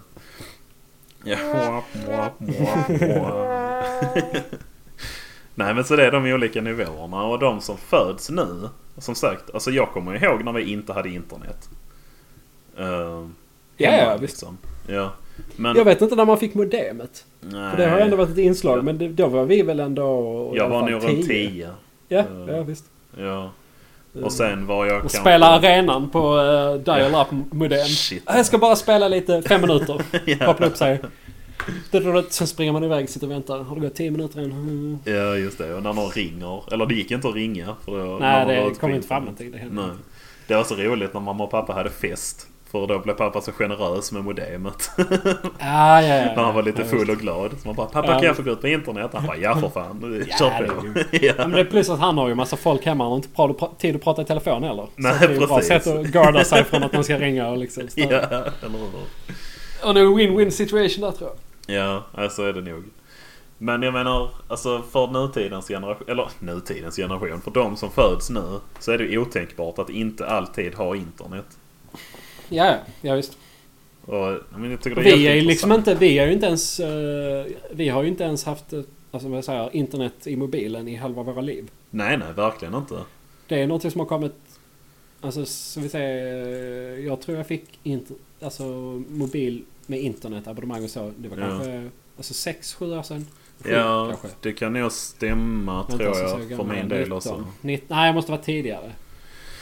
S2: Ja. Wap, wap, wap, wap. Nej men så det är de olika nivåerna och de som föds nu. Som sagt, alltså jag kommer ihåg när vi inte hade internet. Eh,
S1: Ja,
S2: hemma,
S1: ja, visst.
S2: liksom. Ja. Men
S1: Jag vet inte när man fick modemet.
S2: nej,
S1: För det har ändå varit ett inslag.
S2: Ja.
S1: Men det, då var vi väl ändå... i
S2: jag
S1: alla
S2: var
S1: fall
S2: nog runt 10.
S1: Ja,
S2: Eh,
S1: ja visst.
S2: Ja. Och sen var jag
S1: Och
S2: kanske...
S1: spela arenan på uh, dial-up modem. Eh,
S2: Shit. alltså.
S1: Jag ska bara spela lite, fem minuter.
S2: Ja.
S1: Koppla upp sig. Sen springer man iväg, sitter och väntar. Har det gått tio minuter än? Mm.
S2: Ja just det, och när någon ringer. Eller det gick inte att ringa. För då, när
S1: Nej,
S2: man var ute
S1: det
S2: på
S1: kommer inte fram någonting.
S2: internet.
S1: Det händer
S2: Nej.
S1: inte.
S2: Det var så roligt när mamma och pappa hade fest. För då blev pappa så generös med modemet.
S1: Ah, ja, ja, ja.
S2: när han var lite
S1: Ja,
S2: full och glad. Så man bara “Pappa
S1: Ja.
S2: kan jag få gå ut på internet?” Han bara “Ja för fan,
S1: Ja,
S2: kör
S1: det
S2: på”.
S1: är Ja,
S2: ja.
S1: men det är plus att han har ju massa folk hemma och inte bra pra- tid att prata i telefon heller.
S2: Nej,
S1: så det är ju ett bra
S2: precis.
S1: sätt att garda sig från att man ska ringa och liksom
S2: ja,
S1: störa.
S2: eller hur?
S1: Och det är en win-win situation där tror jag.
S2: Ja, ja, så är det nog. Men jag menar, alltså för nutidens generation, eller nutidens generation, för de som föds nu så är det ju otänkbart att inte alltid ha internet.
S1: Ja, ja, ja visst.
S2: Och, jag menar, jag tycker det
S1: Vi är ju liksom
S2: jätteintressant.
S1: inte, vi är ju inte ens, eh, vi har ju inte ens haft, eh, alltså vad jag säger, internet i mobilen i halva våra liv.
S2: Nej, nej, verkligen inte.
S1: Det är någonting som har kommit... Alltså som vi säger... eh, Jag tror jag fick inter, alltså, mobil med internetabonnemang och så. Det var
S2: Ja.
S1: kanske alltså, sex, sju år sedan. Sju,
S2: Ja,
S1: kanske.
S2: det kan nog stämma
S1: Vänta,
S2: tror
S1: så
S2: jag
S1: såg
S2: för
S1: när jag
S2: min
S1: var
S2: del
S1: 19.
S2: också.
S1: Nitt- nej, jag måste vara tidigare.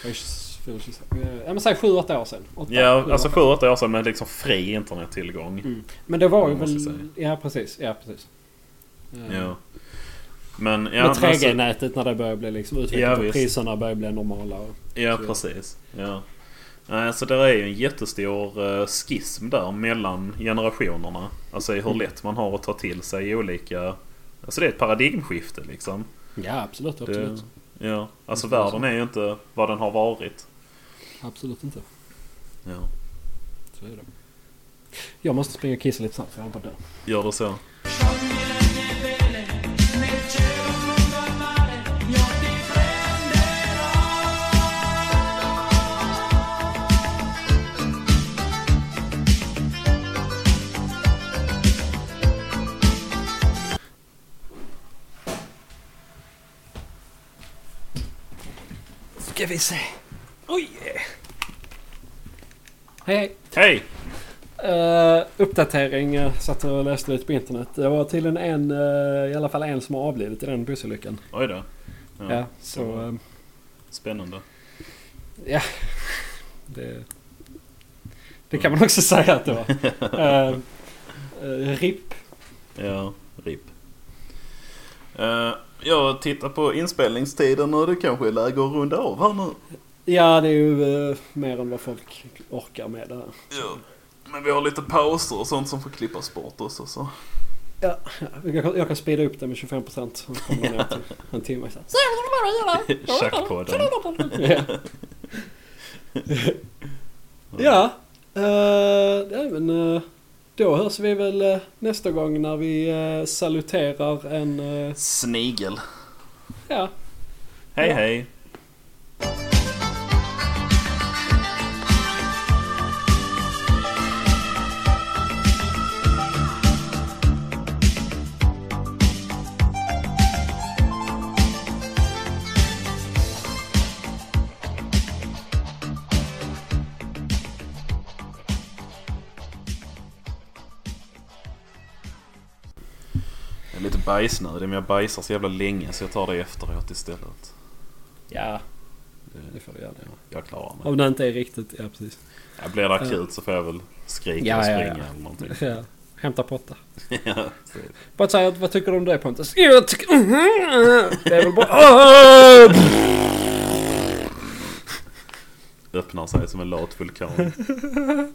S1: Jag är tjus- fyller tjugosex. Eh, Ja men säg sju, åtta år sedan. Åtta,
S2: Ja,
S1: sju,
S2: alltså
S1: åtta. Mm.
S2: 7 8 år sedan med liksom fri internettillgång.
S1: Men det var ju
S2: Ja, måste jag
S1: väl... Ja precis, ja precis. Eh,
S2: Ja. Men ja,
S1: Med
S2: men alltså-
S1: 3G-nätet när det började bli liksom
S2: Ja,
S1: utvecklat och
S2: visst.
S1: priserna började bli normala. Och,
S2: ja
S1: Så-
S2: precis. Ja. Eh, Så det är ju en jättestor eh, schism där mellan generationerna. Alltså
S1: Mm.
S2: i hur lätt man har att ta till sig olika... Alltså det är ett paradigmskifte liksom.
S1: ja absolut,
S2: Det,
S1: absolut.
S2: Ja, alltså världen är ju inte vad den har varit.
S1: Absolut inte.
S2: Ja,
S1: Så är det. Jag måste springa och kissa lite snabbt för jag håller på att dö.
S2: gör det så.
S1: Ska vi se. Oj! Hej hej!
S2: Hej!
S1: Eh, uppdatering uh, satt och läste lite på internet. Det var tydligen en, eh, i alla fall en som har avlidit i den bussolyckan.
S2: Oj då.
S1: Ja,
S2: Ja,
S1: så eh,
S2: Spännande.
S1: det, det kan man också säga att det var. Eh, eh, RIP.
S2: Ja, RIP. Eh, jag tittar på inspelningstiden och det kanske är läge att runda av här nu.
S1: Ja, det är ju eh, mer än vad folk orkar med det här.
S2: Ja. Men vi har lite pauser och sånt som får klippas bort också så.
S1: Ja, jag, kan- jag kan speeda upp det med 25 procent. Så kommer det ner till en timme. Så här.
S2: Tjackpodden.
S1: Ja. ja. eh, ja, men eh, då hörs vi väl eh, nästa gång när vi eh, saluterar en... eh,
S2: Snigel.
S1: ja.
S2: Hej
S1: Ja.
S2: hej. Jag är lite bajsnödig men jag bajsar så jävla länge så jag tar det efteråt istället.
S1: Ja,
S2: Det-
S1: det får vi göra. det.
S2: Jag klarar mig.
S1: Om det inte är riktigt, ja precis.
S2: Ja, blir det akut så får jag väl skrika
S1: Ja,
S2: och
S1: ja,
S2: springa
S1: ja.
S2: eller någonting.
S1: Ja. Hämta potta.
S2: ja, precis.
S1: Bara säga, vad tycker du om det Pontus? Jo, jag tycker... Det är väl bra... Åh!
S2: Öppnar sig som en lat vulkan.